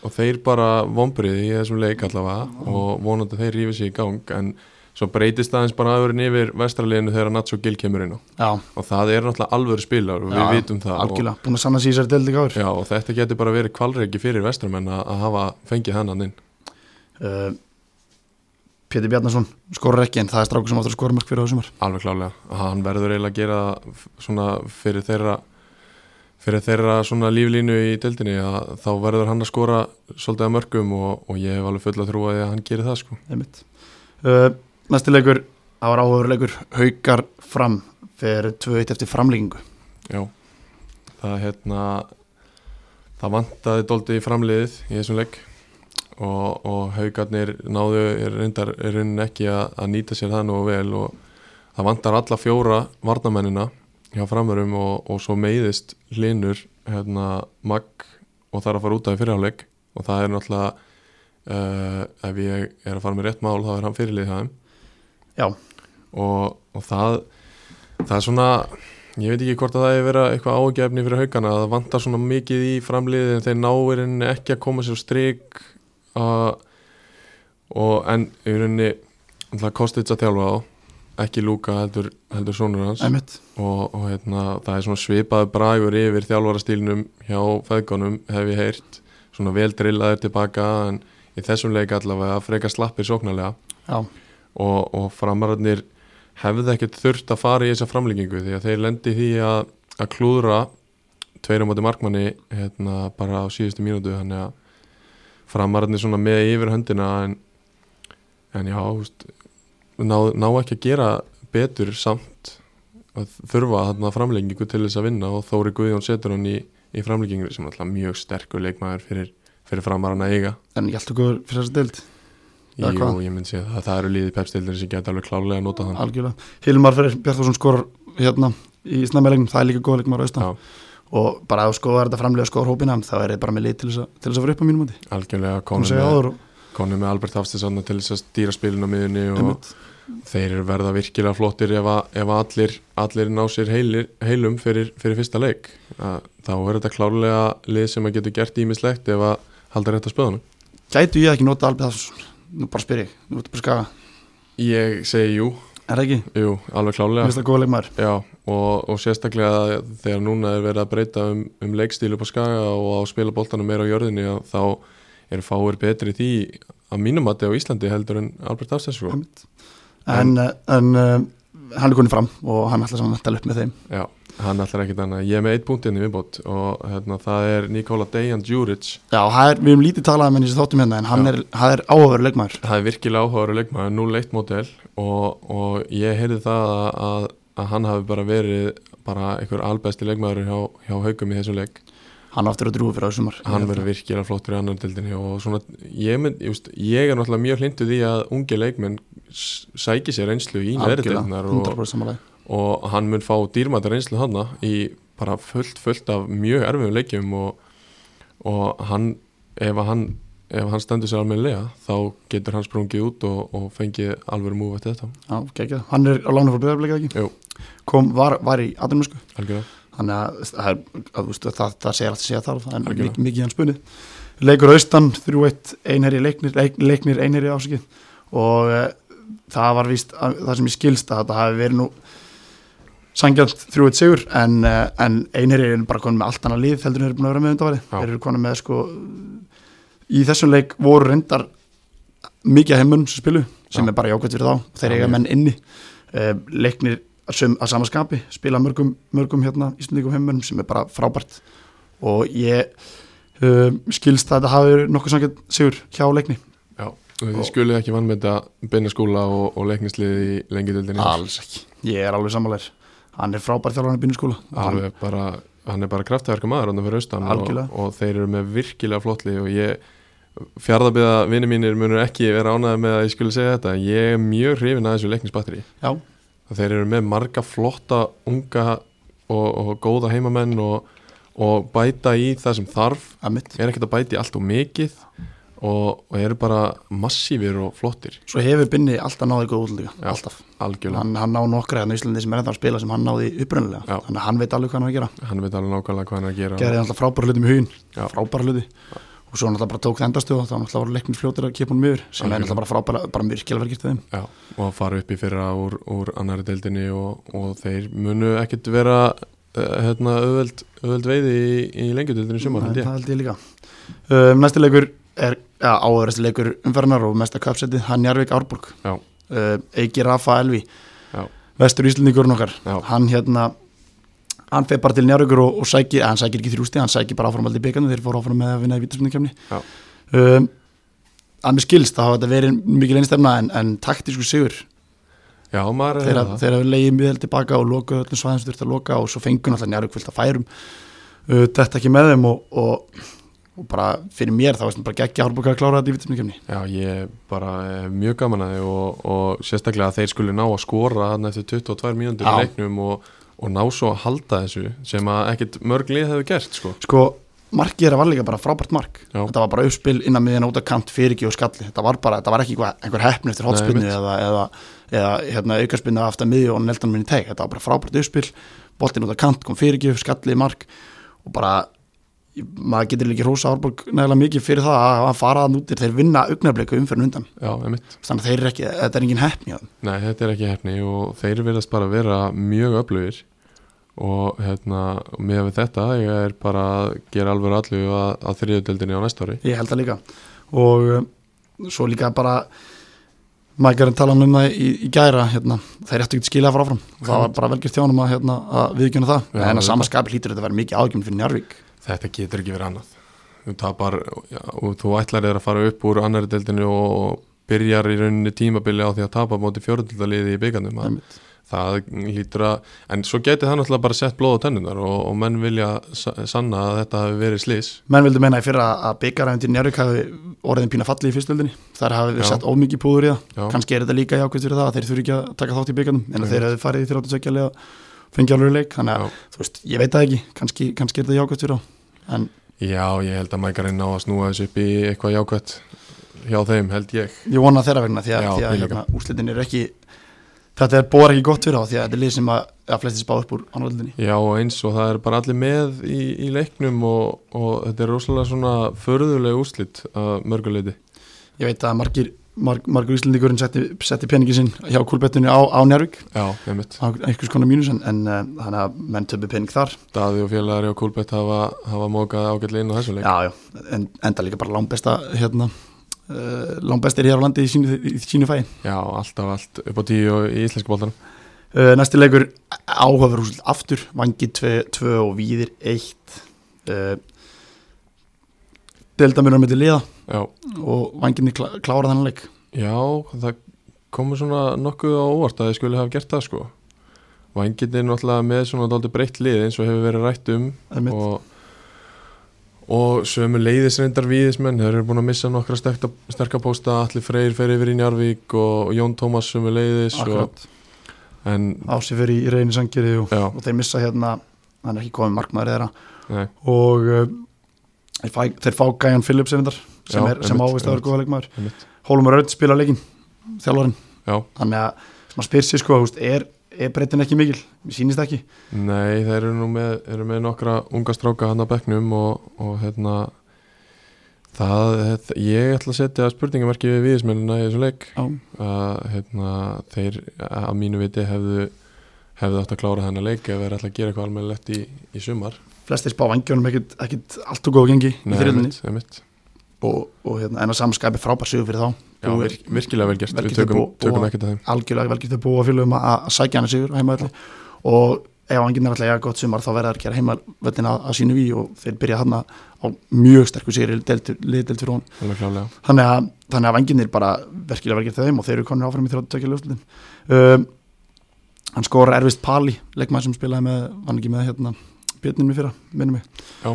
[SPEAKER 2] og þeir bara vombriði í þessum leik allavega
[SPEAKER 1] Ah.
[SPEAKER 2] og vonandi þeir rífið sér í gang en svo breytist aðeins bara aðurinn yfir vestraliðinu þegar Nacho Gill kemur inn á
[SPEAKER 1] Já,
[SPEAKER 2] og það er náttúrulega alvöru spilar og
[SPEAKER 1] Já,
[SPEAKER 2] við vitum það og,
[SPEAKER 1] algjörlega, búin að sanna sig í þessari deild í gáður
[SPEAKER 2] já, og þetta getur bara verið kvalreiki fyrir vestramenn að að hafa fengið hennan inn
[SPEAKER 1] uh, Pétur Bjarnason skorur ekki en það er strákur sem áttur að skora mörg fyrir á þessumar
[SPEAKER 2] Alveg klálega, hann verður eiginlega að gera það f- svona fyrir þeirra fyrir þeirra svona líflínu í deildinni að þá verður hann að skora svolítið að mörgum og, og ég hef alveg full að trúa því að hann gerir það sko.
[SPEAKER 1] einmitt uh, næsti leikur, það var áhugurleikur haukar fram fyrir 2-1 eftir framlíkingu
[SPEAKER 2] Já, það hérna það vantaði dóldi í framliðið í þessum leik og, og haugarnir náðu er reyndar er raunin ekki að, að nýta sér það nú vel og það vantar alla fjóra varnamennina hjá framörum og, og svo meiðist hlinur hérna magg og þarf að fara út af í fyrirháleik og það er náttúrulega uh, ef ég er að fara með rétt mál þá er hann fyrirlið hjá þeim
[SPEAKER 1] Já.
[SPEAKER 2] og, og það það er svona Ég veit ekki hvort að það er verið eitthvað ágefni fyrir haugana að það vantar svona mikið í framliðið en þeir náir henni ekki að koma sér á strik uh, og en í rauninni alltaf kostið að þjálfa á ekki Lúka heldur, heldur sonur hans
[SPEAKER 1] einmitt,
[SPEAKER 2] og, og hérna, það er svona svipaður bragur yfir þjálfarastílnum hjá feðgunum hef ég heyrt svona vel drillaður tilbaka en í þessum leik allavega frekar slappir sóknarlega
[SPEAKER 1] já,
[SPEAKER 2] og, og framararnir hefði ekkert þurft að fara í þessa framlengingu því að þeir lendi í því að, að klúðra tveirum átti markmanni hérna, bara á síðustu mínútu þannig að framararnir svona með yfir höndina en, en já húst, ná, ná ekki að gera betur samt að þurfa þarna framlengingu til þess að vinna og Þóri Guðjón setur hann í, í framlengingu sem er alltaf mjög sterkur leikmaður fyrir, fyrir framarann að eiga
[SPEAKER 1] en ég held okkur fyrir þessa deild Eða
[SPEAKER 2] Jú,
[SPEAKER 1] hvað?
[SPEAKER 2] ég myndi segja það, það eru liðið pepstildin sem geta alveg klálega að nota þann
[SPEAKER 1] algjörlega, Hilmar Freyr Bjartarsson skorar hérna í snæmiðleiknum, það er líka góð leikmar austan
[SPEAKER 2] Já.
[SPEAKER 1] og bara að skoða þetta framlega skoður hópina þá er þetta bara með lið til þess að, til þess að fara upp á mínum móti
[SPEAKER 2] algjörlega
[SPEAKER 1] hún
[SPEAKER 2] konu
[SPEAKER 1] segja
[SPEAKER 2] með,
[SPEAKER 1] áður og
[SPEAKER 2] konu með Albert Hafstinsson til þess að stýra spilinu á miðunni og
[SPEAKER 1] einmitt,
[SPEAKER 2] þeir eru verða virkilega flottir ef, að, ef að allir, allir ná sér heilir, heilum fyrir, fyrir fyrsta leik að, þá er þetta klárlega lið sem að getur gert ímislegt ef að halda rétt á spöðunum
[SPEAKER 1] gætu ég ekki nota Albið Hafsson nú bara spyr ég, nú ertu bara að skaga
[SPEAKER 2] ég segi jú,
[SPEAKER 1] er það ekki,
[SPEAKER 2] jú alveg
[SPEAKER 1] mér
[SPEAKER 2] klárlega
[SPEAKER 1] finnst það góð leikmar
[SPEAKER 2] Já, og, og sérstaklega þegar núna er verið að breyta um, um leikstílu på skaga og að spila boltanum meira á jörðinni að þá eru fáir betri í því að mínum að á Íslandi heldur en Albert sko. Afstensson
[SPEAKER 1] en, en, en uh, hann er konið fram og hann ætlar saman að tala upp með þeim
[SPEAKER 2] Já, hann ætlar ekkit annað Ég er með eitt punktinn í viðbót og hérna, það er Nikola Dejan Djuric
[SPEAKER 1] já, það er, við erum lítið talað um henni sem þáttum hérna en hann
[SPEAKER 2] Já.
[SPEAKER 1] er, hann er áhugaveru leikmar
[SPEAKER 2] Það er virkilega áhugaður leikmaður, 0-1 mótel og, og ég heyrði það að, að, að hann hafi bara verið bara einhver albesti leikmaður hjá, hjá haugum í þessum leik
[SPEAKER 1] hann aftur að drúi fyrir þessu sumar
[SPEAKER 2] hann verður virkilega flottur í annan dildinni og svona, ég, mynd, ég, veist, ég er náttúrulega mjög hlindu því að unge leikmenn s- sæki sér reynslu í neðri dildinnar og,
[SPEAKER 1] 100% samanlega
[SPEAKER 2] og hann mun fá dýrmættar reynslu þarna í bara fullt, fullt af mjög erfiðum leikjum og, og hann, ef að hann ef hann stendur sér almennilega þá getur hann sprungið út og, og fengið alveg múið eftir þetta,
[SPEAKER 1] Já, geggjað. Hann er á lána frá breyðarbleika ekki?
[SPEAKER 2] Jú.
[SPEAKER 1] Kom, var, var í sko. atvinnusku.
[SPEAKER 2] algjörða
[SPEAKER 1] Þannig að, það er- að, að, að það, það segir allt að segja þar, það er
[SPEAKER 2] Algjörlega.
[SPEAKER 1] mikið, mikið í hans spunið. Leikur austan, 3-1, einherji leiknir, leik, leiknir einherji ásakið og e, það var víst, að, það sem ég skilst að þetta hafi verið nú sangjant 3-1 sigur en, e, en einherji er bara konum með allt annað lið heldur en þeir eru búin að vera með undanværi.
[SPEAKER 2] Já.
[SPEAKER 1] Þeir eru konum með sko, í þessum leik voru reyndar mikið að heimunum sem spilu sem
[SPEAKER 2] Já.
[SPEAKER 1] er bara jákvæmt fyrir þá, þeir
[SPEAKER 2] Já,
[SPEAKER 1] eiga
[SPEAKER 2] mjög.
[SPEAKER 1] menn inni Eh, leiknir að, sum, að samaskapi spila mörgum, mörgum hérna Íslandingum heimurnum sem er bara frábært og ég uh, skilst að þetta hafi verið nokkuð sangið sigur hjá leikni
[SPEAKER 2] Já, og þið skuluð ekki vann með þetta beina skóla og, og leiknisliði í lengi dildinni
[SPEAKER 1] ekki, ég er alveg sammálaður hann er frábært þjálfarni í bínuskóla
[SPEAKER 2] alveg bara, hann er bara kraftaverka maður hann fyrir austan og,
[SPEAKER 1] Algjörlega.
[SPEAKER 2] og þeir eru með virkilega flott lið og ég fjárðabiða vinni mínir munur ekki vera ánæði með að ég skulle segja þetta en ég er mjög hrifin að þessu leiknisbatteri
[SPEAKER 1] já,
[SPEAKER 2] og þeir eru með marga flotta unga og, og góða heimamenn og, og bæta í það sem þarf
[SPEAKER 1] að mitt
[SPEAKER 2] er ekkert að bæta í allt og mikið og, og eru bara massífir og flottir
[SPEAKER 1] svo hefur Binni alltaf náði góð útlendinga,
[SPEAKER 2] Já,
[SPEAKER 1] alltaf
[SPEAKER 2] algjörlega,
[SPEAKER 1] hann, hann ná nokkra hérna í Íslandi sem er ennþá að spila sem hann náði upprunalega,
[SPEAKER 2] Já.
[SPEAKER 1] þannig að hann veit alveg hvað hann á að gera
[SPEAKER 2] hann veit alveg nákvæmlega hvað hann er að gera
[SPEAKER 1] gerði alltaf frábæra hluti með hugin
[SPEAKER 2] Já.
[SPEAKER 1] frábæra hluti og svo náttúrulega bara tók það endastu og þá náttúrulega voru leiknir fljótir að kipa hann mjög sem er
[SPEAKER 2] Algjörlega.
[SPEAKER 1] náttúrulega bara frábæra, bara virkilega verið gert þeim
[SPEAKER 2] Já, og að fara upp í fyrra úr, úr annari deildinni og, og þeir munu ekkert vera uh, hérna, öðvöld, öðvöld veiði í, í lengjudeildinni í sumar,
[SPEAKER 1] Nei,
[SPEAKER 2] held ég.
[SPEAKER 1] það held ég líka um, næsti leikur er ja, áverðasti leikur umferðanar og mesta kapsetti hann Jarvik Árborg
[SPEAKER 2] Já.
[SPEAKER 1] uh, Eiki Rafa Elvi
[SPEAKER 2] Já.
[SPEAKER 1] vestur Íslendingurinn okkar
[SPEAKER 2] Já.
[SPEAKER 1] hann hérna hann fer bara til njárvíkur og, og sækir, eða hann sækir ekki þrjústi, hann sækir bara áfram aldrei byggjarnu, þeir fóru áfram með að vinna í vítaspundakefni.
[SPEAKER 2] Já.
[SPEAKER 1] Um, að mér skilst, þá hafa þetta verið mikil einstemna en, en taktísku sigur
[SPEAKER 2] Já, maður er
[SPEAKER 1] þeirra,
[SPEAKER 2] það
[SPEAKER 1] þeirra leiði miðel tilbaka og loka öllum svæðum sem þurfti að loka og svo fengun alltaf njárvík fyllt að færum uh, þetta ekki með þeim og, og, og bara fyrir mér þá veist mér bara geggja Hárborgar að klára þetta í vítaspundakefni.
[SPEAKER 2] Já, ég bara er mjög gaman að þið og, og sérstaklega að þeir skulle ná að skora hann eftir 22 mínútur í
[SPEAKER 1] Já.
[SPEAKER 2] leiknum og, og ná svo að halda þessu sem að ekkit mörg lið hefur gert sko.
[SPEAKER 1] Sko, markið þeirra var líka bara frábært mark
[SPEAKER 2] Já.
[SPEAKER 1] þetta var bara uppspil innan miðin út af kant fyrir ekki og skalli, þetta var bara, þetta var ekki eitthvað, einhver hefn eftir hotspinni
[SPEAKER 2] Nei,
[SPEAKER 1] eða, eða, eða hérna, aukarspinni aftan miði og neldan minni teg, þetta var bara frábært uppspil boltin út af kant kom fyrir ekki, skalli í mark og bara maður getur líka hrósa Árborg nægilega mikið fyrir það að að fara að nútir, þeir vinna augnarbleiku umferðin undan,
[SPEAKER 2] Já, emitt.
[SPEAKER 1] þannig að þeir eru ekki þetta er engin hefn hjá þeim,
[SPEAKER 2] Nei, þetta er ekki hefni og þeir verðast bara að vera mjög öflugir og hérna, með við þetta ég er bara að gera alveg allu að, að þriðudeldinni á næsta ári.
[SPEAKER 1] ég held það líka og um, svo líka bara maður er að tala um það í, í gæra hérna, þeir ættu ekki skilja að fara áfram það var bara velgjört hjá honum að, hérna, að viðkjöna það
[SPEAKER 2] Já,
[SPEAKER 1] en að
[SPEAKER 2] auðvitað.
[SPEAKER 1] sama skapi hlýtur þetta að vera mikið ágjum fyrir Njarvík
[SPEAKER 2] Þetta getur ekki verið annað Þú tapar já, og þú ætlar þér að fara upp úr annari deildinu og byrjar í rauninni tímabili á því að tapa móti fjördildaliði í byggandum það,
[SPEAKER 1] Einmitt.
[SPEAKER 2] það lítur að en svo geti það náttúrulega bara sett blóð á tennunar og, og menn vilja sa- sanna að þetta hafi verið slís
[SPEAKER 1] menn vildu meina í fyrra að byggaræfundir Njarvík hafi orðin pína falli í fyrstöldinni þar hafi við
[SPEAKER 2] Já.
[SPEAKER 1] sett ómikið púður í það
[SPEAKER 2] Já.
[SPEAKER 1] kannski er þetta líka jákvæmt fyrir það að þeir þurfi ekki að taka þátt í byggarnum en
[SPEAKER 2] Einmitt.
[SPEAKER 1] að þeir hefði farið í 32 leik og fengið alveg leik þannig að
[SPEAKER 2] Já.
[SPEAKER 1] þú veist, ég veit það ekki, kannski, kannski er þetta jákvæmt fyrir það en
[SPEAKER 2] Já, ég held að mækarinn á að snúa þessu upp í eitthvað jákvætt hjá þeim, held ég
[SPEAKER 1] ég vona þeirra vegna því að,
[SPEAKER 2] Já,
[SPEAKER 1] því að
[SPEAKER 2] ég líka.
[SPEAKER 1] hérna, úslitin er ekki þetta er bóra ekki gott fyrir á því að þetta er lið sem að, að flestir spá upp úr annaðlunni
[SPEAKER 2] Já, og eins og það er bara allir með í, í leiknum og, og þetta er rosalega svona förðuleg úrslit að mörguleiti
[SPEAKER 1] ég veit að margir, marg, margur úslendingurinn setti, setti peningin sinn hjá kúlbettunni á, á Njárvík
[SPEAKER 2] Já, nefnitt
[SPEAKER 1] á einhvers konar mínus en, en eh, þannig að menn töpu pening þar
[SPEAKER 2] Daði og félagari og Kúlbett hafa, hafa mókað ágætlega inn á þessum leik.
[SPEAKER 1] já, já, en, enda líka bara langbesta hérna, uh, langbestir hér á landi í sínu, í sínu fæi
[SPEAKER 2] Já, alltaf allt upp á tíu og í íslensku bóltanum.
[SPEAKER 1] uh, næsti leikur áhafur úslit aftur vangi 2 og víðir 1 uh, deildamurinn með til liða
[SPEAKER 2] Já.
[SPEAKER 1] og vanginni klá, klára þannig leik
[SPEAKER 2] Já, það komur svona nokkuð á óvart að þið skulle hafa gert það sko. Vængirni er náttúrulega með svona dálítið breytt lið eins og hefur verið rætt um
[SPEAKER 1] einmitt.
[SPEAKER 2] og, og sömu leiðis reyndar víðismenn, þeir eru búin að missa nokkra sterkta, sterka pósta, Alli Freyr fer yfir í Njarvík og Jón Tómas sömu leiðis og,
[SPEAKER 1] Akkurat,
[SPEAKER 2] en
[SPEAKER 1] Ási fyrir í reyni sangeri og,
[SPEAKER 2] já,
[SPEAKER 1] og þeir missa hérna hann er ekki komið markmaður þeirra
[SPEAKER 2] nei,
[SPEAKER 1] og uh, þeir, fæ, þeir fá Gæjan Phillips einhundar sem,
[SPEAKER 2] Já,
[SPEAKER 1] er, sem
[SPEAKER 2] einmitt,
[SPEAKER 1] ávist að vera
[SPEAKER 2] einmitt.
[SPEAKER 1] góða leikmaður
[SPEAKER 2] einmitt.
[SPEAKER 1] Hólumur Örn spila leikinn, þjálfarinn
[SPEAKER 2] Já.
[SPEAKER 1] þannig að maður spyr sér sko þú veist, er, er breytin ekki mikil, mér sýnist það ekki
[SPEAKER 2] Nei, þeir eru nú með, eru með nokkra unga stráka hann að bekknum og, og hérna það, þetta, ég ætla að setja spurningamarki við viðismennina í þessum leik
[SPEAKER 1] Já.
[SPEAKER 2] að hérna, þeir að mínu viti hefðu hefðu átt að klára þennan leik ef þeir ætla að gera eitthvað almennilegt í, í sumar
[SPEAKER 1] flestir spá vangjónum ekkit, ekkit allt og góða gengi í þriðinni
[SPEAKER 2] einmitt, einmitt.
[SPEAKER 1] og, og hérna, en að samskæpi frábær sigur fyrir þá
[SPEAKER 2] Já,
[SPEAKER 1] Búið.
[SPEAKER 2] vir, virkilega vel gert, við
[SPEAKER 1] Velgerður
[SPEAKER 2] tökum,
[SPEAKER 1] bú-
[SPEAKER 2] tökum
[SPEAKER 1] búa.
[SPEAKER 2] ekkert að þeim
[SPEAKER 1] algjörlega velgjörðu búa félögum að að sækja hann sigur á heimavalli og ef anginn er alltaf eiga gott sumar þá verða þær að gera heimavallin að, að sínu við og þeir byrja hann á mjög sterkur sigur liðdelt fyrir hún
[SPEAKER 2] alveg klálega
[SPEAKER 1] þannig að, þannig að vanginnir bara verkilega verkið þeim og þeir eru konur áfram í 32 ljóslutin um, Uh, hann skora erfist Pali leikmaður sem spilaði með, vann ekki með hérna, björnin mér fyrra, minnum mig
[SPEAKER 2] Já.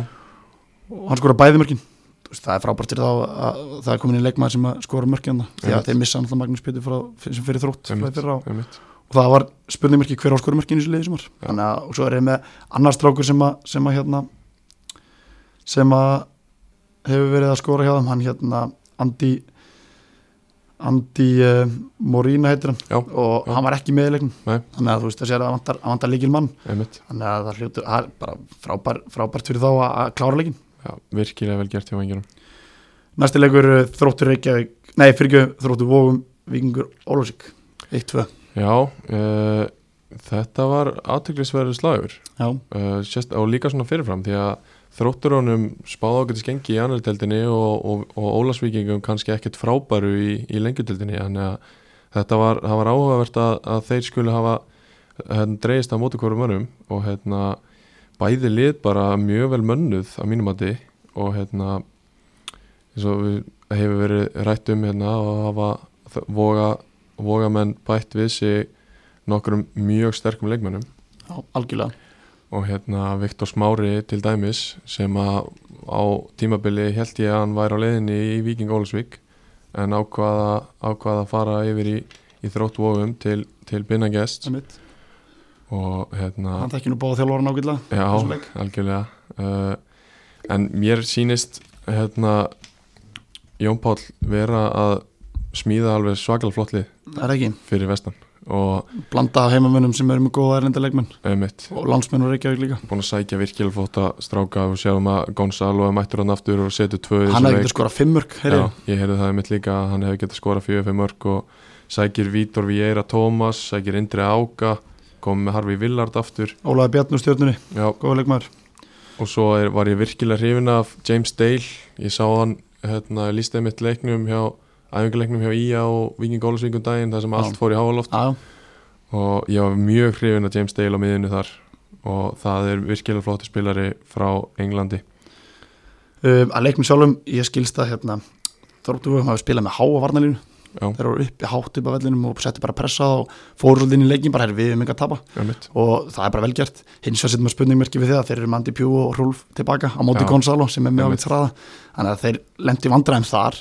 [SPEAKER 1] og hann skora bæði mörkin Þú veist, það er frábært til þá að, að það er komin inn leikmaður sem að skora mörkin því
[SPEAKER 2] Einmitt.
[SPEAKER 1] að þeir missa alltaf Magnús Pétur frá, sem fyrir þrótt
[SPEAKER 2] einmitt,
[SPEAKER 1] fyrir á
[SPEAKER 2] einmitt.
[SPEAKER 1] og það var spurningmerki hver á skorumörkinu í þessu liði í sumar
[SPEAKER 2] Já.
[SPEAKER 1] þannig að og svo er ég með annar strákur sem að sem að hérna sem að hefur verið að skora hjá þeim hann hérna Andi Andi uh, Morína heitir hann
[SPEAKER 2] Já,
[SPEAKER 1] og
[SPEAKER 2] já.
[SPEAKER 1] hann var ekki með í leiknum
[SPEAKER 2] Nei.
[SPEAKER 1] þannig að þú veist þessi er að vantar, að vantar leikil mann
[SPEAKER 2] einmitt.
[SPEAKER 1] þannig að það hljótu að bara frábær, frábært fyrir þá að, að klára leikin
[SPEAKER 2] Já, virkilega vel gert hjá vengjurum
[SPEAKER 1] næsti leikur eh, þróttur Reykjavík nei fyrir ekki þróttur Vógum Víkingur Ólásík 1-2
[SPEAKER 2] Já, uh, þetta var aðtöklisverður slagur
[SPEAKER 1] já
[SPEAKER 2] uh, sérst, og líka svona fyrirfram því að þróttur honum spáði ákveðtis gengi í annardeldinni og, og, og Ólasvíkingum kannski ekkert frábæru í, í lengjudeldinni þannig að þetta var, það var áhugavert að, að þeir skulle hafa hérna, dreigist á móti hverjum örum og hérna bæði lið bara mjög vel mönnuð að mínum að og hérna eins og við hefur verið rætt um hérna og hafa þ- voga, voga menn bætt við sig nokkrum mjög sterkum leikmönnum
[SPEAKER 1] Já, algjörlega
[SPEAKER 2] og hérna Viktor Smári til dæmis sem að á tímabili held ég að hann væri á leiðinni í Viking Ólasvík en ákvaða, ákvaða að fara yfir í, í þrótt vofum til, til Binnagest
[SPEAKER 1] Einmitt.
[SPEAKER 2] og hérna
[SPEAKER 1] Hann tekki nú báða þjálfóran ágætlega
[SPEAKER 2] já,
[SPEAKER 1] þessum leik.
[SPEAKER 2] algjörlega uh, en mér sýnist hérna Jón Páll vera að smíða alveg svakalflottli
[SPEAKER 1] Það er ekki,
[SPEAKER 2] fyrir vestan og
[SPEAKER 1] blanda af heimamönnum sem eru með góða erlenda leikmenn
[SPEAKER 2] auðvitað
[SPEAKER 1] og landsmenn og Reykjavík líka
[SPEAKER 2] búin að sækja virkilega flotta stráka og sjáum að Gonzalo er mættur hann aftur og setur tvö í
[SPEAKER 1] Hann
[SPEAKER 2] þessum
[SPEAKER 1] hefði getið
[SPEAKER 2] leik.
[SPEAKER 1] skorað fimm mörg
[SPEAKER 2] Já, ég heyrði það mitt líka að hann hefði getið skorað 4-5 mörg og sækir Vítor Vieira Tómas, sækir Indri Áka kom með Harfi Villard aftur
[SPEAKER 1] Ólaði Bjarn úr stjórnunni,
[SPEAKER 2] Já,
[SPEAKER 1] góða leikmæður
[SPEAKER 2] og svo er, var ég virkilega hrifin af James Dale, ég sá hann hérna, lístið mitt leiknum hjá æfingarleiknum hjá Ía og Viking Gólusvíkum daginn þar sem
[SPEAKER 1] Já.
[SPEAKER 2] allt fór í háaloft
[SPEAKER 1] Já,
[SPEAKER 2] og ég var mjög hrifin af James Dale á miðinu þar og það er virkilega flótti spilari frá Englandi
[SPEAKER 1] um, að leiknum sjálfum, ég skilst það hérna Þorptúfum hafi spilað með háa varnalínu
[SPEAKER 2] Já.
[SPEAKER 1] þeir voru uppi hátt upp af vellinum og settu bara pressa og fóru svolítið inn í leikin bara "Herri, við um enga að tapa
[SPEAKER 2] Ömmit.
[SPEAKER 1] og það er bara velgjart hins vegar setjum við spurningmerki við þeir þeir eru Mandi Pjú og Rúlf tilbaka á móti
[SPEAKER 2] Já.
[SPEAKER 1] Gonzalo sem er með á
[SPEAKER 2] Einmitt.
[SPEAKER 1] vitt hraða þannig að þeir lendi vandræðum þar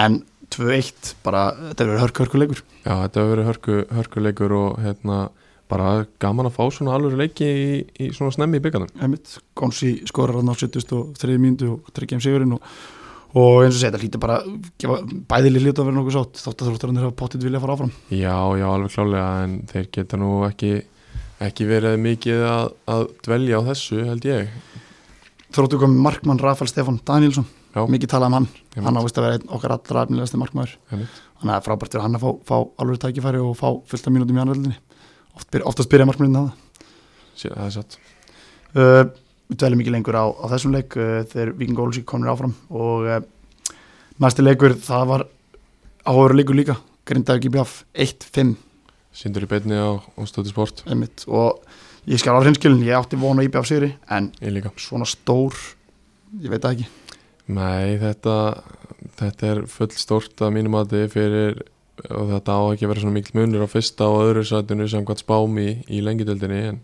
[SPEAKER 1] en 2-1 bara þetta eru hörku hörku leikur
[SPEAKER 2] Já, þetta hefur verið hörku, hörkuleikur og hérna, bara gaman að fá svona alveg leiki í, í svona snemmi í byggandum.
[SPEAKER 1] Einmitt, Gonsi skorar hann á 73 mínútu og tryggja um sigurinn og, og eins og segja þetta hlýtur bara gefa, bæðileg hlýtur að vera nokkuð sátt þótt að þróttarinn eru að pottit vilja fara áfram
[SPEAKER 2] Já, já, alveg klálega en þeir geta nú ekki, ekki verið mikið að, að dvelja á þessu held ég.
[SPEAKER 1] Þróttu komið markmann Rafael Stefán Danielsson
[SPEAKER 2] Já.
[SPEAKER 1] mikið talað um hann,
[SPEAKER 2] Einmitt.
[SPEAKER 1] hann ávist að vera einn okkar allra efnilegasti markmaður
[SPEAKER 2] Einmitt.
[SPEAKER 1] þannig að það er frábært fyrir hann að fá, fá alveg tækifæri og fá fullt af mínútum í annaðildinni Oft, byr- oftast byrja markmannin það
[SPEAKER 2] Sé- Það er satt.
[SPEAKER 1] uh, við dælum ekki lengur á, á þessum leik uh, þegar Viking Ólsík komir áfram og uh, næsti leikur það var áhverju leikur líka Grindavík í Bjaf 1-5
[SPEAKER 2] Sindur í beinni á Óstöðu Sport,
[SPEAKER 1] einmitt. og ég skal á hreinskilin ég átti vona í Bjaf sigri en
[SPEAKER 2] ég líka.
[SPEAKER 1] svona stór ég veit það ekki
[SPEAKER 2] Nei, þetta, þetta er full stort að mínum að þið fyrir og þetta á ekki að vera svona mikil munur á fyrsta og öðru sætinu sem hvað spám í, í lengjadöldinni en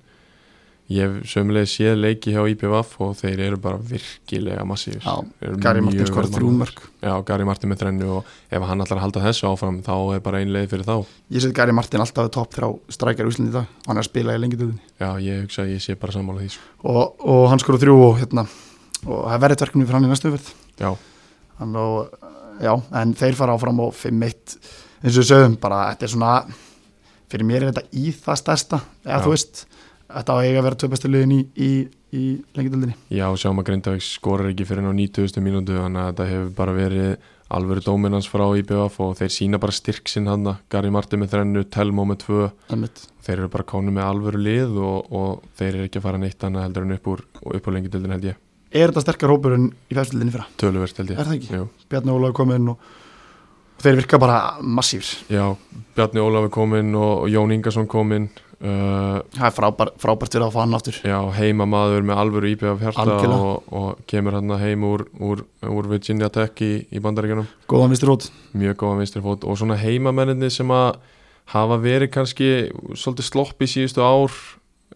[SPEAKER 2] ég hef sömulega séð leiki hjá IPVF og þeir eru bara virkilega massífis.
[SPEAKER 1] Já, Gary Martin skorað þrjú mörg
[SPEAKER 2] Já, Gary Martin með þrennu og ef hann ætlar að halda þessu áfram þá er bara ein leið fyrir þá.
[SPEAKER 1] ég set Gary Martin alltaf top þrjá strækjar í Íslandi í dag og hann er að spila í lengi döðinni
[SPEAKER 2] Já, ég hugsa að ég sé bara sammála því. sko.
[SPEAKER 1] og, og hann skorað þrjú og hérna og það verður tverkunni fyrir hann í næstu verð
[SPEAKER 2] Já,
[SPEAKER 1] hann og, já, en þeir fara áfram og 5-1 eins og við sögum bara, þetta er svona fyrir mér er þetta í það stærsta eða
[SPEAKER 2] Já.
[SPEAKER 1] þú veist, þetta á að eiga að vera tvö bestu liðin í, í, í lengjadöldinni
[SPEAKER 2] já, sjáum að Grindavík skorar ekki fyrir hann á 90. mínútu þannig að þetta hefur bara verið alvöru dóminans frá IBF og þeir sína bara styrk sinn hann Gary Martin með þrennu, Telmo með tvö þeir eru bara kánu með alvöru lið og, og þeir eru ekki að fara neitt annað heldur en upp úr, og upp úr lengi dildin held ég
[SPEAKER 1] er þetta sterkar hópur en í fjárstildinni fyrra,
[SPEAKER 2] töluvert held ég
[SPEAKER 1] er það ekki?
[SPEAKER 2] Jú.
[SPEAKER 1] Bjarni Ólaug kom inn og, og þeir virka bara massífur
[SPEAKER 2] Já, Bjarni Ólaf er kominn og, og Jón Ingarsson kominn uh,
[SPEAKER 1] það er frábær, frábært fyrir að fá hann aftur
[SPEAKER 2] Já, heimamaður með alvöru IBF hjarta
[SPEAKER 1] Algjörlega.
[SPEAKER 2] og, og kemur hann heim úr, úr, úr Virginia Tech í, í bandaríkjunum
[SPEAKER 1] góðan vistur hót,
[SPEAKER 2] mjög góðan vinstri fót og svona heimamenninni sem að hafa verið kannski svolítið slopp í síðustu ár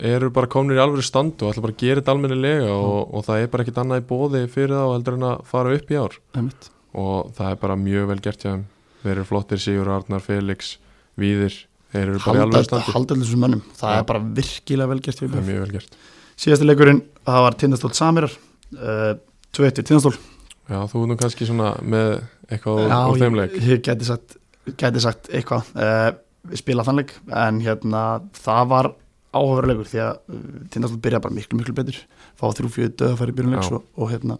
[SPEAKER 2] eru bara komnir í alvöru stand og ætla bara að gera þetta almennilega
[SPEAKER 1] Mm.
[SPEAKER 2] og, og það er bara ekkit annað í bóði fyrir þá heldur en að fara upp í ár
[SPEAKER 1] einmitt
[SPEAKER 2] og það er bara mjög vel gert hjá þeim þeir eru flottir Sigur Arnar, Felix, Víðir þeir eru bara í alvöru
[SPEAKER 1] haldið
[SPEAKER 2] standi
[SPEAKER 1] haldið þessum mönnum, það
[SPEAKER 2] Já.
[SPEAKER 1] er bara virkilega velgert
[SPEAKER 2] það er mjög vel gert
[SPEAKER 1] síðasti leikurinn, það var Tindastól Samirar uh, 2-1 við Tindastól
[SPEAKER 2] Já, þú er nú kannski svona með eitthvað úr- úr
[SPEAKER 1] Já,
[SPEAKER 2] þeim leik
[SPEAKER 1] ég, ég geti sagt, geti sagt eitthvað uh, við spila þannleik en hérna, það var áhverjulegur því að uh, Tindastóll byrja bara miklu miklu betur fá þrjú fjöðu döð að fara í byrjunleik
[SPEAKER 2] Já.
[SPEAKER 1] svo, og hérna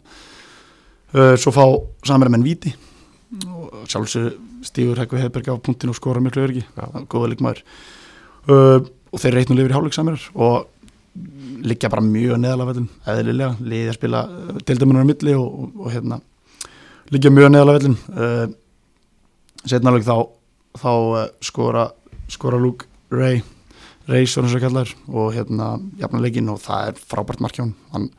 [SPEAKER 1] uh, svo fá samar menn viti og sjálfsög stífur Hekku Heiberg á punktinu og skora miklu örgi
[SPEAKER 2] Já.
[SPEAKER 1] góða leikmaður uh, og þeir reitnum lifir í hálfleik samirar og liggja bara mjög neðalega vellum eðlilega, liðið að spila uh, deildamunar á milli og, og, og hérna liggja mjög neðalega vellum uh, setna alveg þá þá uh, skora skora Luke Ray reysur eins og kallar og hérna jafnilegin og það er frábært markjón hann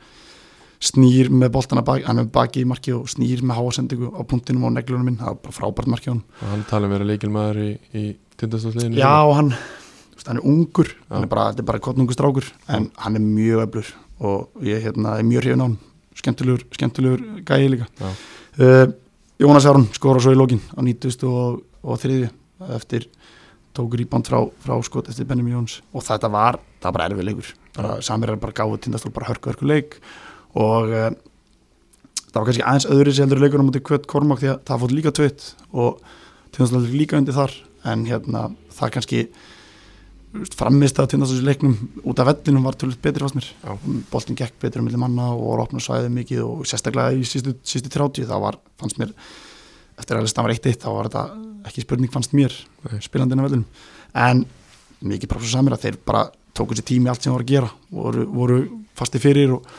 [SPEAKER 1] snýr með boltana bak, hann er með baki í marki og snýr með háasendingu á punktinum og neglunum minn, það er bara frábært markjón
[SPEAKER 2] og hann tala um vera leikilmaður í, í tindastóðsliðinu
[SPEAKER 1] já og hann, þú veist, hann er ungur hann
[SPEAKER 2] Já.
[SPEAKER 1] er bara, þetta er bara kottnungu strákur en hann er mjög eflur og ég hérna er mjög hrifin á hann, skemmtilegur skemmtilegur gæði líka
[SPEAKER 2] Já.
[SPEAKER 1] uh, Jónas Járn skora svo í lókin á 90 og, og þriðju eftir tók rýband frá, frá skot eftir Benjamin Jóns og þetta var, það var bara erfið leikur bara, samir er bara gáðu tindastól bara hörku hörku leik og uh, það var kannski aðeins öðru sem heldur í leikunum mútið kvött Kormák því að það fótt líka tveitt og tindastól er líka undir þar en hérna það kannski framist að tindastóls í leiknum út af vellinum var tölvöld betri fast mér
[SPEAKER 2] Já.
[SPEAKER 1] boltin gekk betri um milli manna og voru opnum svæðið mikið og sérstaklega í sístu, sístu 30 það var, fannst mér eftir að listan var eitt eitt þá var þetta ekki spurning fannst mér
[SPEAKER 2] Nei.
[SPEAKER 1] spilandin af vellinum en mikið prófum samir að þeir bara tóku sér tími í allt sem voru að gera voru, voru fasti fyrir og,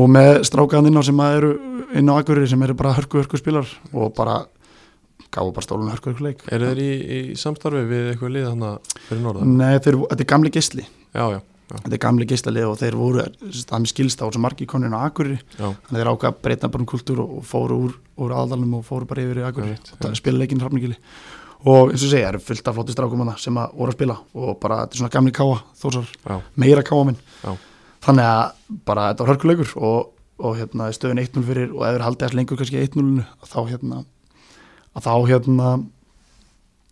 [SPEAKER 1] og með strákaðan inn á sem að eru inn á Akureyri sem eru bara hörku hörku spilar og bara gáðu bara stólun hörku hörku leik
[SPEAKER 2] er þeir í, í samstarfi við eitthvað lið hann fyrir norðan
[SPEAKER 1] Nei, þeir, þetta er gamli geisli
[SPEAKER 2] já, já,
[SPEAKER 1] þetta er gamli geislalið og þeir voru þannig skilst á þessu margi konin á Akureyri
[SPEAKER 2] já,
[SPEAKER 1] þannig að þeir ákvað að breyta bara um kultúr og, og fóru úr, úr aðalum og fóru bara yfir í Akureyri
[SPEAKER 2] einmitt,
[SPEAKER 1] og það
[SPEAKER 2] einmitt.
[SPEAKER 1] spila leikinn hrafningili og eins og segja, það eru fullt af flóti strákum hana sem að voru að spila og bara þetta er svona gamli káa þósar,
[SPEAKER 2] já,
[SPEAKER 1] meira káa minn
[SPEAKER 2] Já.
[SPEAKER 1] þannig að bara þetta var hörkuleikur og, og hérna stöðin 1-0 fyrir og ef þeir haldið alls lengur kannski 1-0 að þá hérna að þá hérna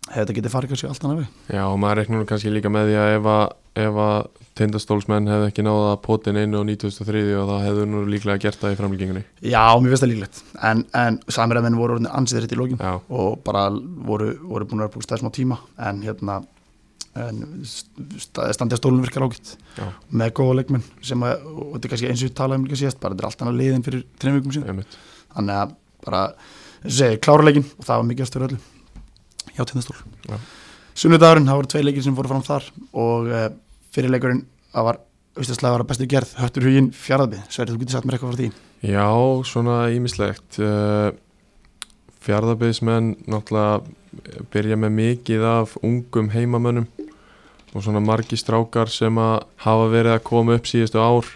[SPEAKER 1] hefði þetta getið farið kannski allt annað við
[SPEAKER 2] já og maður reiknur nú kannski líka með því að ef að, ef að tindastólsmenn hefði ekki náða potin inn á 2003 og það hefðu nú líklega gert það í framlíkingunni
[SPEAKER 1] Já, mér finnst það líklegt en, en samræðmenn voru orðin ansiðir þetta í lókin
[SPEAKER 2] já,
[SPEAKER 1] og bara voru, voru búin að vera búin stæði smá tíma en hérna en st- standja stólun virkar ágætt
[SPEAKER 2] Já.
[SPEAKER 1] með góða leikmenn sem að, og þetta er kannski eins og við talaðum líka síðast bara þetta er allt annað liðin fyrir þreim vikum síðan
[SPEAKER 2] einmitt
[SPEAKER 1] þannig að bara, eins og segi, klára leikin og það var mikið aftur öllu hjá tindastól
[SPEAKER 2] Já.
[SPEAKER 1] Sunnudagurinn, það voru tvei leikir sem fóru fram þar og uh, fyrir leikurinn, það var austarslega var að bestu gerð, höttur huginn fjaraðbið, Sverri, þú getur sagt mér eitthvað frá því
[SPEAKER 2] Já, svona ímislegt Fjardabæðismenn náttúrulega byrja með mikið af ungum heimamönnum og svona margi strákar sem að hafa verið að koma upp síðustu ár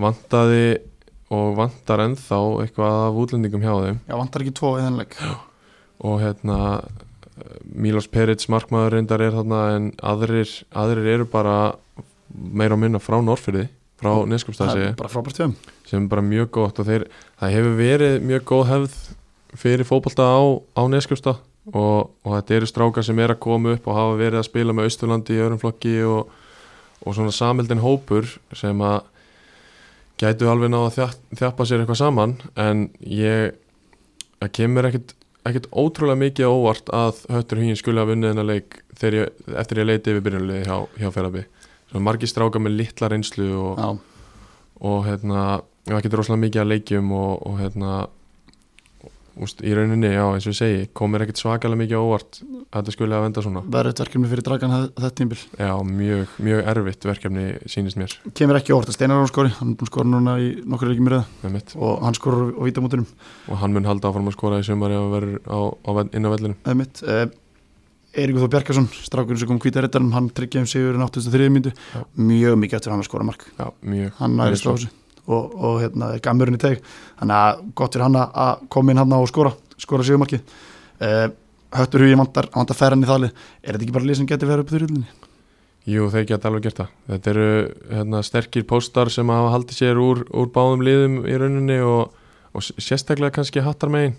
[SPEAKER 2] vantaði og vantar ennþá eitthvað af útlendingum hjá þeim
[SPEAKER 1] Já, vantar ekki tvo eðanleik
[SPEAKER 2] og hérna eh, Milos Perits markmaður reyndar er þarna en aðrir, aðrir eru bara meira og minna frá Norfyrði frá
[SPEAKER 1] það
[SPEAKER 2] Neskjöpstæsi
[SPEAKER 1] er bara frábært hjá þeim
[SPEAKER 2] sem er bara mjög gott og þeir, það hefur verið mjög góð hefð fyrir fótbolta á, á Neskjöfsta og, og þetta eru strákar sem er að koma upp og hafa verið að spila með Austurlandi í öðrum flokki og, og svona samildin hópur sem að gætu alveg náða að þjap- þjappa sér eitthvað saman en ég það kemur ekkit, ekkit ótrúlega mikið á óvart að Höttur Hugin skulle hafa unnið þennan leik þegar ég, eftir ég leiti yfir byrjunlið hjá, hjá Ferabi svona margir strákar með litla reynslu og,
[SPEAKER 1] Já,
[SPEAKER 2] og hérna það getur rosalega mikið að leikjum og, og hérna úst, í rauninni, já, eins og ég segi komir ekkert svakalega mikið á óvart að þetta skulle að venda svona
[SPEAKER 1] verður þetta verkefni fyrir dragan það- þetta tímbil.
[SPEAKER 2] já, mjög, mjög erfitt verkefni sýnist mér
[SPEAKER 1] Kemur ekki óvart að Steinar Arón skori, hann er búin að skora núna í nokkur leikir mér það
[SPEAKER 2] með mitt
[SPEAKER 1] og hann skorur á vítamótunum
[SPEAKER 2] og hann mun halda áfram að skora í sumari og verður á, á, vell- inn á vellinu
[SPEAKER 1] eða mitt. Eh, Eiríku Þó Bjarkarsson, strákurinn sem kom hvita réttanum, hann tryggja um sigurinn 83. myndu,
[SPEAKER 2] Já.
[SPEAKER 1] mjög mikið eftir hann að skora mark.
[SPEAKER 2] já, mjög,
[SPEAKER 1] Hann
[SPEAKER 2] Mjög
[SPEAKER 1] næri
[SPEAKER 2] svo.
[SPEAKER 1] stráðsig og, og hérna, er gammurinn í teg, þannig að gott fyrir hann að- að koma inn hann og skora, skora sigurmarkið. Eh, Höttur hugið vantar, hann vantar ferran í þalið, er þetta ekki bara lið sem getur verið upp í þurrullinni?
[SPEAKER 2] jú, þeir geta alveg gert það þetta eru hérna, sterkir póstar sem hafa haldið sér úr, úr báðum liðum í rauninni og, og s- sérstaklega kannski hattar megin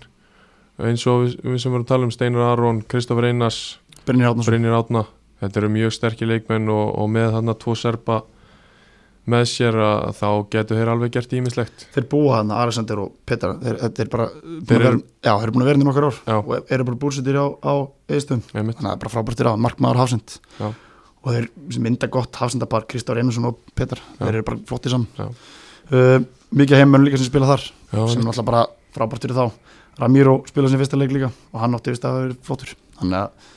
[SPEAKER 2] eins og við, við sem vorum að tala um Steinar Aron, Kristoffer Einars
[SPEAKER 1] Brynir Átnarsson,
[SPEAKER 2] Brynir Átna þetta eru mjög sterkir leikmenn og, og með þarna tvo serpa með sér að þá getur þeir alveg gert ímislegt
[SPEAKER 1] þeir búa þarna, Alexander og Petra þeir, þetta er bara,
[SPEAKER 2] Þeir
[SPEAKER 1] þeir
[SPEAKER 2] eru-
[SPEAKER 1] vera, já, þeir eru búin að vera hérna í nokkur ár
[SPEAKER 2] Já.
[SPEAKER 1] og eru bara búrsettir á, á eðstöðum
[SPEAKER 2] einmitt,
[SPEAKER 1] þannig að það er bara frábært þér á, markmaður hafsend
[SPEAKER 2] Já.
[SPEAKER 1] og þeir sem mynda gott hafsendapar Kristór Einarsson og Petra,
[SPEAKER 2] Já.
[SPEAKER 1] þeir eru bara flottir
[SPEAKER 2] Já.
[SPEAKER 1] saman uh, mikið heimönn líka sem spila þar
[SPEAKER 2] já,
[SPEAKER 1] sem er
[SPEAKER 2] einmitt.
[SPEAKER 1] alltaf bara frábært fyrir þá Ramiro spila sem fyrsta leik líka og hann átti vist að það er flottur þannig að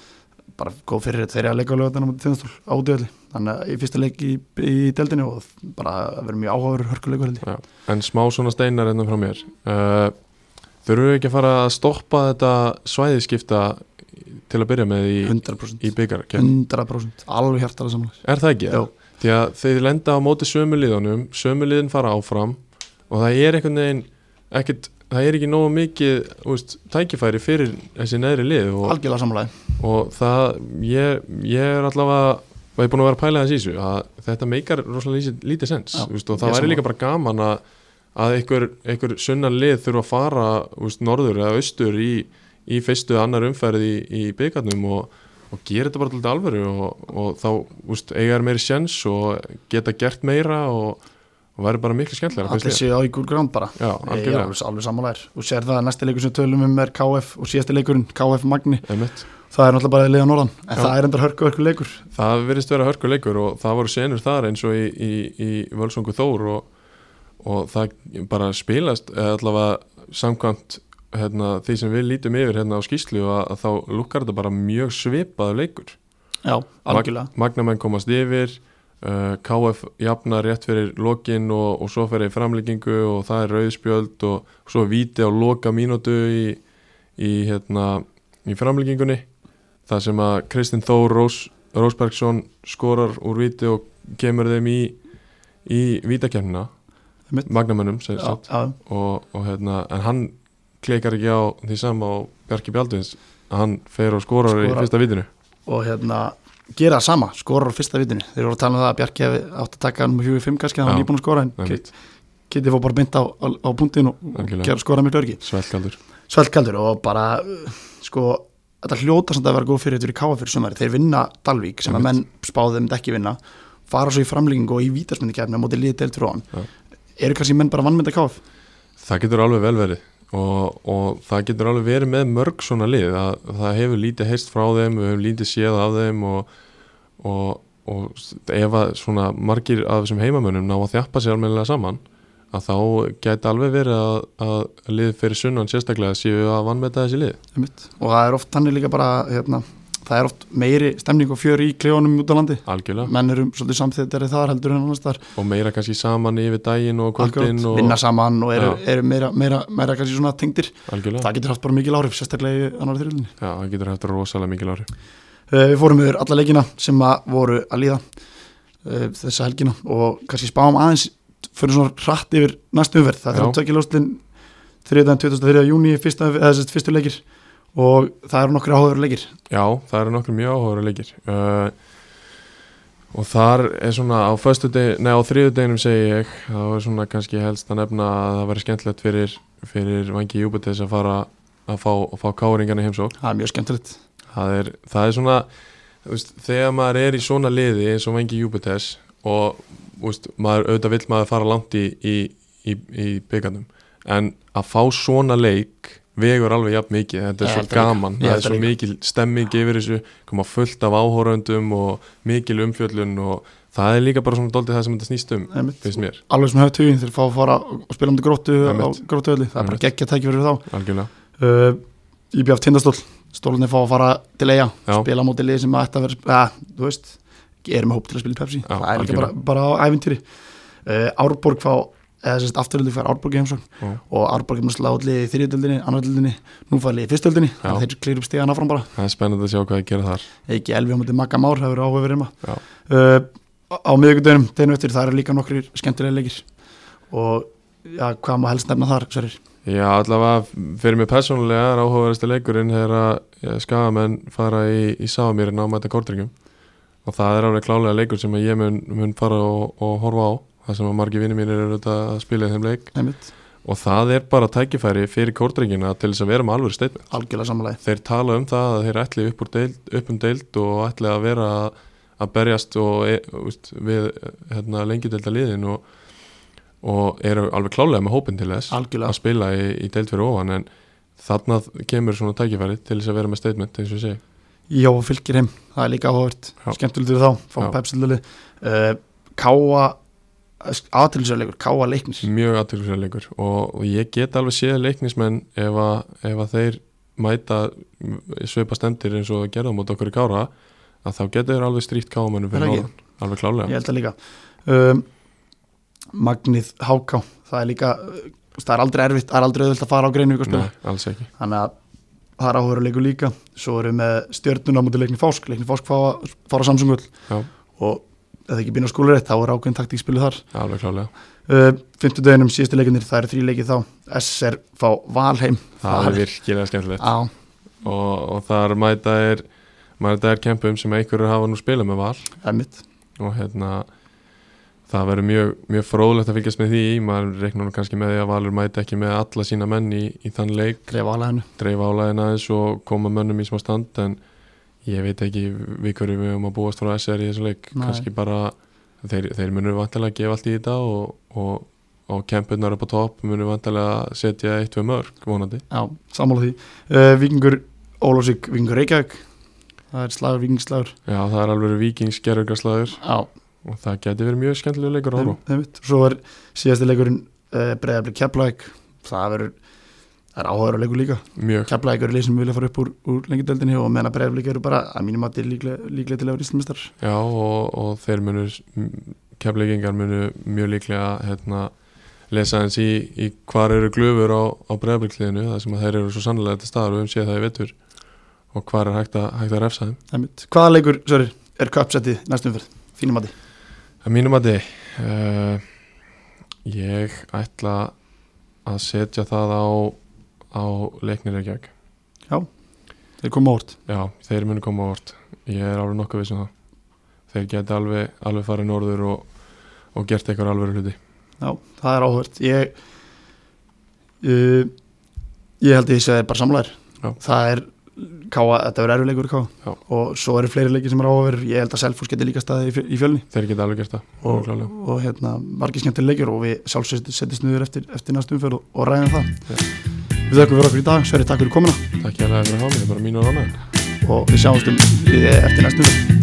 [SPEAKER 1] bara góð fyrir þetta þeir eru að leika á lögatana mútið þjóðastól ádöðli þannig að í fyrsta leik í, í deldinu og bara verður mjög áhugaður hörkuleikur held ég
[SPEAKER 2] en smá svona steinar Eh, hérna frá mér uh, þurfum við ekki að fara að stoppa þetta svæðiskipta til að byrja með í,
[SPEAKER 1] 100%,
[SPEAKER 2] í byggarkefni
[SPEAKER 1] 100% alveg hjartalega samanlega
[SPEAKER 2] Er það ekki?
[SPEAKER 1] Já.
[SPEAKER 2] Því að þeir lenda á móti sömuliðunum, sömuliðin fara áfram og það er einhvern veginn ekkert, það er ekki nógu mikið úst, tækifæri fyrir þessi neðri lið og,
[SPEAKER 1] algjörlega samanlega,
[SPEAKER 2] og það, ég, ég er allavega og ég er búin að vera að pæla þess í þessu að þetta meikar rosalega lítið, lítið sens
[SPEAKER 1] Já,
[SPEAKER 2] úst, og
[SPEAKER 1] ég
[SPEAKER 2] það væri
[SPEAKER 1] sammála.
[SPEAKER 2] líka bara gaman að að einhver, einhver sunnan lið þurfa að fara úst, norður eða austur í, í fyrstu annar umferð í, í byggarnum og, og gera þetta bara til alvöru og, og þá úst, eiga er meiri sjens og geta gert meira og, og væri bara miklu skemmtilega
[SPEAKER 1] allir séu á ykkur grán bara
[SPEAKER 2] Já,
[SPEAKER 1] Nei,
[SPEAKER 2] algjörlega,
[SPEAKER 1] alveg, alveg samanlega og sér það að næsti leikur sem við tölum um er KF og síðasti leikurinn KF Magni,
[SPEAKER 2] einmitt
[SPEAKER 1] það er náttúrulega bara leið á norðan en
[SPEAKER 2] Já.
[SPEAKER 1] það er endar hörku hörku leikur
[SPEAKER 2] Það virðist vera hörkuleikur og það voru senur þar eins og í, í, í Völsungu Þór og, og það bara spilast eða allavega samkvæmt hérna, því sem við lítum yfir hérna á skýslu að, að þá lukkar þetta bara mjög svipaður leikur.
[SPEAKER 1] já, algjörlega,
[SPEAKER 2] Magnamenn komast yfir, uh, KF jafnar rétt fyrir lokin og, og svo fyrir framleggingu og það er rauðspjöld og svo víti á loka mínútu í, í, hérna, í framleggingunni þar sem að Kristinn Þór Rós, Rósbergsson skorar úr víti og kemur þeim í, í vítakernina
[SPEAKER 1] Einmitt.
[SPEAKER 2] Magnamennum sem
[SPEAKER 1] já,
[SPEAKER 2] sagt
[SPEAKER 1] já,
[SPEAKER 2] og, og hérna, en hann klikar ekki á því sama og Bjarki Bjaldvins hann fer og skorar, í
[SPEAKER 1] Skorar.
[SPEAKER 2] fyrsta vítinu
[SPEAKER 1] og hérna gera það sama, skorar á fyrsta vitinu þeir voru að tala um það að Bjarki hefði átt að taka hann 25 kannski, hann
[SPEAKER 2] Já.
[SPEAKER 1] var nýbúin að skora en
[SPEAKER 2] Einmitt.
[SPEAKER 1] Kitty fór bara beint á, á, á punktinu og
[SPEAKER 2] Algjörlega.
[SPEAKER 1] gera skora miklu örgi
[SPEAKER 2] Svelkaldur
[SPEAKER 1] svælkaldur og bara uh, sko, þetta hljóta samt að vera góð fyrir þetta í káa fyrir sumari, þeir vinna Dalvík sem að menn spáðu þeim ekki vinna fara svo í framlíkingu og í vítarsmyndikefni á móti liðið deilt fyrir
[SPEAKER 2] Já.
[SPEAKER 1] ofan eru kannski menn bara vannmynda káf
[SPEAKER 2] Það getur alveg vel verið og, og það getur alveg verið með mörg svona lið að það hefur lítið heist frá þeim við hefum lítið séð af þeim og, og, og ef að svona margir af þessum heimamönnum ná að þjappa sér almennilega saman að þá gæti alveg verið að, að lið fyrir sunnan sérstaklega séu að vannmeta þessi lið
[SPEAKER 1] og það er oft þannig líka bara hérna, það er oft meiri stemning og fjör í kljónum út á landi,
[SPEAKER 2] algjörlega
[SPEAKER 1] menn eru svolítið samþýttari þar heldur en annars þar
[SPEAKER 2] og meira kannski saman yfir daginn og kvöldin
[SPEAKER 1] Akkurat,
[SPEAKER 2] og
[SPEAKER 1] vinna saman og eru,
[SPEAKER 2] Já.
[SPEAKER 1] eru meira, meira, meira kannski svona tengdir,
[SPEAKER 2] algjörlega
[SPEAKER 1] það getur haft bara mikil áhrif sérstaklega í annar þrjöldinni
[SPEAKER 2] Já, það getur hægt rosalega mikil ári
[SPEAKER 1] Eh, Við fórum yfir alla leikina sem að voru að líða eh, þessa helgina og kannski spáum aðeins fyrir svona hratt yfir næstu umverð það
[SPEAKER 2] Já.
[SPEAKER 1] er að tökja ljóstlinn 3. 23. júni fyrsta, eh, eða þessi fyrstu leikir og það eru nokkri áhugaður leikir
[SPEAKER 2] Já, það eru nokkur mjög áhugaður leikir uh, og þar er svona á, föstudeg- nei, á þriðudeginum segi ég þá er svona kannski helst að nefna að það væri skemmtilegt fyrir, fyrir vangi Júbutes að fara að fá, að fá káringarna heimsók
[SPEAKER 1] það er mjög skemmtilegt
[SPEAKER 2] það er, það er svona þú veist, þegar maður er í svona liði eins og vengi Júpiters og þú veist, maður, auðvitað vill maður fara langt í, í, í, í byggandum en að fá svona leik vegur alveg jafn mikið, þetta er
[SPEAKER 1] Ég
[SPEAKER 2] svo
[SPEAKER 1] held það líka.
[SPEAKER 2] gaman
[SPEAKER 1] Ég
[SPEAKER 2] það
[SPEAKER 1] held
[SPEAKER 2] er svo
[SPEAKER 1] það líka.
[SPEAKER 2] mikil stemming yfir þessu koma fullt af áhórundum og mikil umfjöllun og það er líka bara svona doldið það sem þetta snýst um,
[SPEAKER 1] Einmitt.
[SPEAKER 2] finnst mér,
[SPEAKER 1] alveg sem höfðu tugin þegar fá að fara og spila um til gróttu á
[SPEAKER 2] Einmitt.
[SPEAKER 1] gróttu öllu, það er
[SPEAKER 2] Einmitt.
[SPEAKER 1] bara geggja tæki fyrir þá
[SPEAKER 2] algjörlega
[SPEAKER 1] uh, IBF tindastól stólunni fá að fara til eiga
[SPEAKER 2] Já.
[SPEAKER 1] spila á móti liði sem að ætti að vera að, þú veist, er með hóp til að spila í Pepsi
[SPEAKER 2] Já,
[SPEAKER 1] það er ekki bara,
[SPEAKER 2] algjörlega.
[SPEAKER 1] bara á æfintýri uh, Árborg fá eða sérst afturöldu fær Árborg í heimsókn
[SPEAKER 2] Já.
[SPEAKER 1] og Árborg er mjög sláðlið í þriðjöldinni, annarjöldinni nú fær liðið fyrstöldinni,
[SPEAKER 2] Já.
[SPEAKER 1] þannig að þeir klýr upp stíðan áfram bara
[SPEAKER 2] það er spennandi að sjá hvað ég gera þar
[SPEAKER 1] ekki elvi á móti Magga Már, það verður áhuga verið
[SPEAKER 2] Já.
[SPEAKER 1] maður uh, á miðvíkudagunum, deginum eftir, það eru líka nokkrir skemmtilega leikir og já, hvað má helst nefna þar, Sverrir?
[SPEAKER 2] Já, allavega fyrir mig persónulega er áhugaverðasti leikurinn þegar að ja, skagamenn fara í, í sáamýrin á mæta kortringum og það er alveg klálega leikur sem að ég mun, mun fara og, og horfa á það sem að margir vinnir mínir eru auðvitað að spila í þeim leik
[SPEAKER 1] Einmitt,
[SPEAKER 2] og það er bara tækifæri fyrir kortringina til þess að vera með alveg steinu
[SPEAKER 1] algjörlega samanlega
[SPEAKER 2] þeir tala um það að þeir ætli upp, úr deild, upp um deild og ætli að vera að- að berjast og, e, úst, við hérna, lengi deilda liðin og, og eru alveg klálega með hópin til þess
[SPEAKER 1] algjörlega
[SPEAKER 2] að spila í, í deild fyrir ofan en þarna kemur svona tækifæri til þess að vera með statement eins og ég segi
[SPEAKER 1] Já, og fylgir heim, það er líka áhört
[SPEAKER 2] Já.
[SPEAKER 1] skemmtilegt fyrir þá, fá
[SPEAKER 2] Já.
[SPEAKER 1] pepsilöli uh, Káa aðtilsöðleikur, Káa leiknir
[SPEAKER 2] mjög aðtökulslega leikur og, og ég get alveg séð leiknismenn ef að, ef að þeir mæta svipa stemtir eins og gerðum út okkur í kára að þá getur þeir alveg strýtt káamönnum
[SPEAKER 1] Er
[SPEAKER 2] fyrir
[SPEAKER 1] það
[SPEAKER 2] ofan alveg klálega
[SPEAKER 1] ég held það líka um, Magnið Háká það er líka, uh, það er aldrei erfitt það er aldrei auðvöld að fara á greinu ykkur
[SPEAKER 2] Nei,
[SPEAKER 1] spila,
[SPEAKER 2] alls ekki
[SPEAKER 1] þannig að það er áhverjuleiku líka svo erum við með stjörnuna á mútið leikni fásk leikni fásk fara, fara samsungull
[SPEAKER 2] Já.
[SPEAKER 1] og ef það ekki býna skólarétt þá er ákveðin taktíkspilu þar
[SPEAKER 2] alveg klálega
[SPEAKER 1] uh, 50 döginum síðustu leikinir það eru þrý leikið þá SR fá Valheim
[SPEAKER 2] það er virkilega skemmtilegt
[SPEAKER 1] á,
[SPEAKER 2] og, og þar mæta er mæta er kempum sem einhverjur hafa nú spilað með val
[SPEAKER 1] það er mitt
[SPEAKER 2] og hérna það verður mjög, mjög fróðlegt að fylgjast með því maður reiknar nú kannski með því að Valur mæti ekki með alla sína menn í, í þann leik
[SPEAKER 1] grefa alveg hennu
[SPEAKER 2] dreifa álæðin aðeins og koma mönnum í smá stand en ég veit ekki við hverju við höfum að búast frá SR í þessum leik
[SPEAKER 1] Nei.
[SPEAKER 2] kannski bara þeir, þeir munur vantilega að gefa allt í þetta og, og, og kempurnar upp á topp munur vantilega að setja eitt við mörg vonandi
[SPEAKER 1] Já, sammála því. Uh, Víkingur Ólásík, Víkingur Reykjavík. Það er slagur, vikingsslagur.
[SPEAKER 2] já það er alveg vikingsgerðugarslæður
[SPEAKER 1] Já,
[SPEAKER 2] og það geti verið mjög skemmtilega leikur ára
[SPEAKER 1] þeim- þeimitt. Svo er síðasti leikurinn uh, breyðabli Keflæk. Það verður, það er áhugaður leikur líka.
[SPEAKER 2] mjög,
[SPEAKER 1] Keflæk eru leið sem vilja fara upp úr, úr lengjadeldinni og meðan að breyðablik eru bara að mínum að þetta er líklega, líklega til að vera íslamistar.
[SPEAKER 2] Já og, og þeir munu kefleikingar munu mjög líklega hérna, lesa hans í, í hvar eru glöfur á, á breyðablikkliðinu þar sem að þeir eru svo sannlega til staðar og um séð það í vetur og hvar er hægt að, hægt að refsa þeim
[SPEAKER 1] Þeimitt. Hvaða leikur, Sörri, er köpsettið næstum fyrr? Fínum að því.
[SPEAKER 2] Að mínum að þið ég ætla að setja það á, á leiknir ekki ekki
[SPEAKER 1] Þeir koma óvart.
[SPEAKER 2] Já, þeir munu koma á vort ég er alveg nokkuð vissum það þeir geti alveg, alveg farið norður og, og gert eitthvað alveg hluti
[SPEAKER 1] Já, það er áhugavert ég, uh, ég held að ég sé að það er bara samlæðir
[SPEAKER 2] Já.
[SPEAKER 1] Það er káa, þetta verður erfiðleikur
[SPEAKER 2] Já.
[SPEAKER 1] káa og svo eru fleiri leikir sem eru áhugaverður ég held að Selfos geti líka staðið í, fjö- í fjölni
[SPEAKER 2] þeir geti alveg gert það alveg
[SPEAKER 1] og,
[SPEAKER 2] klárlega.
[SPEAKER 1] og hérna, margir skemmtileg leikir og við sjálfsögst setjast niður eftir, eftir næstu umferð og, og ræðum það Við þakkum fyrir okkur í dag, Sverri, takk fyrir komuna
[SPEAKER 2] Takk hérlega fyrir að hafa mig, það er bara mín og rána.
[SPEAKER 1] og við sjáumst um, eh, eftir næstu umferð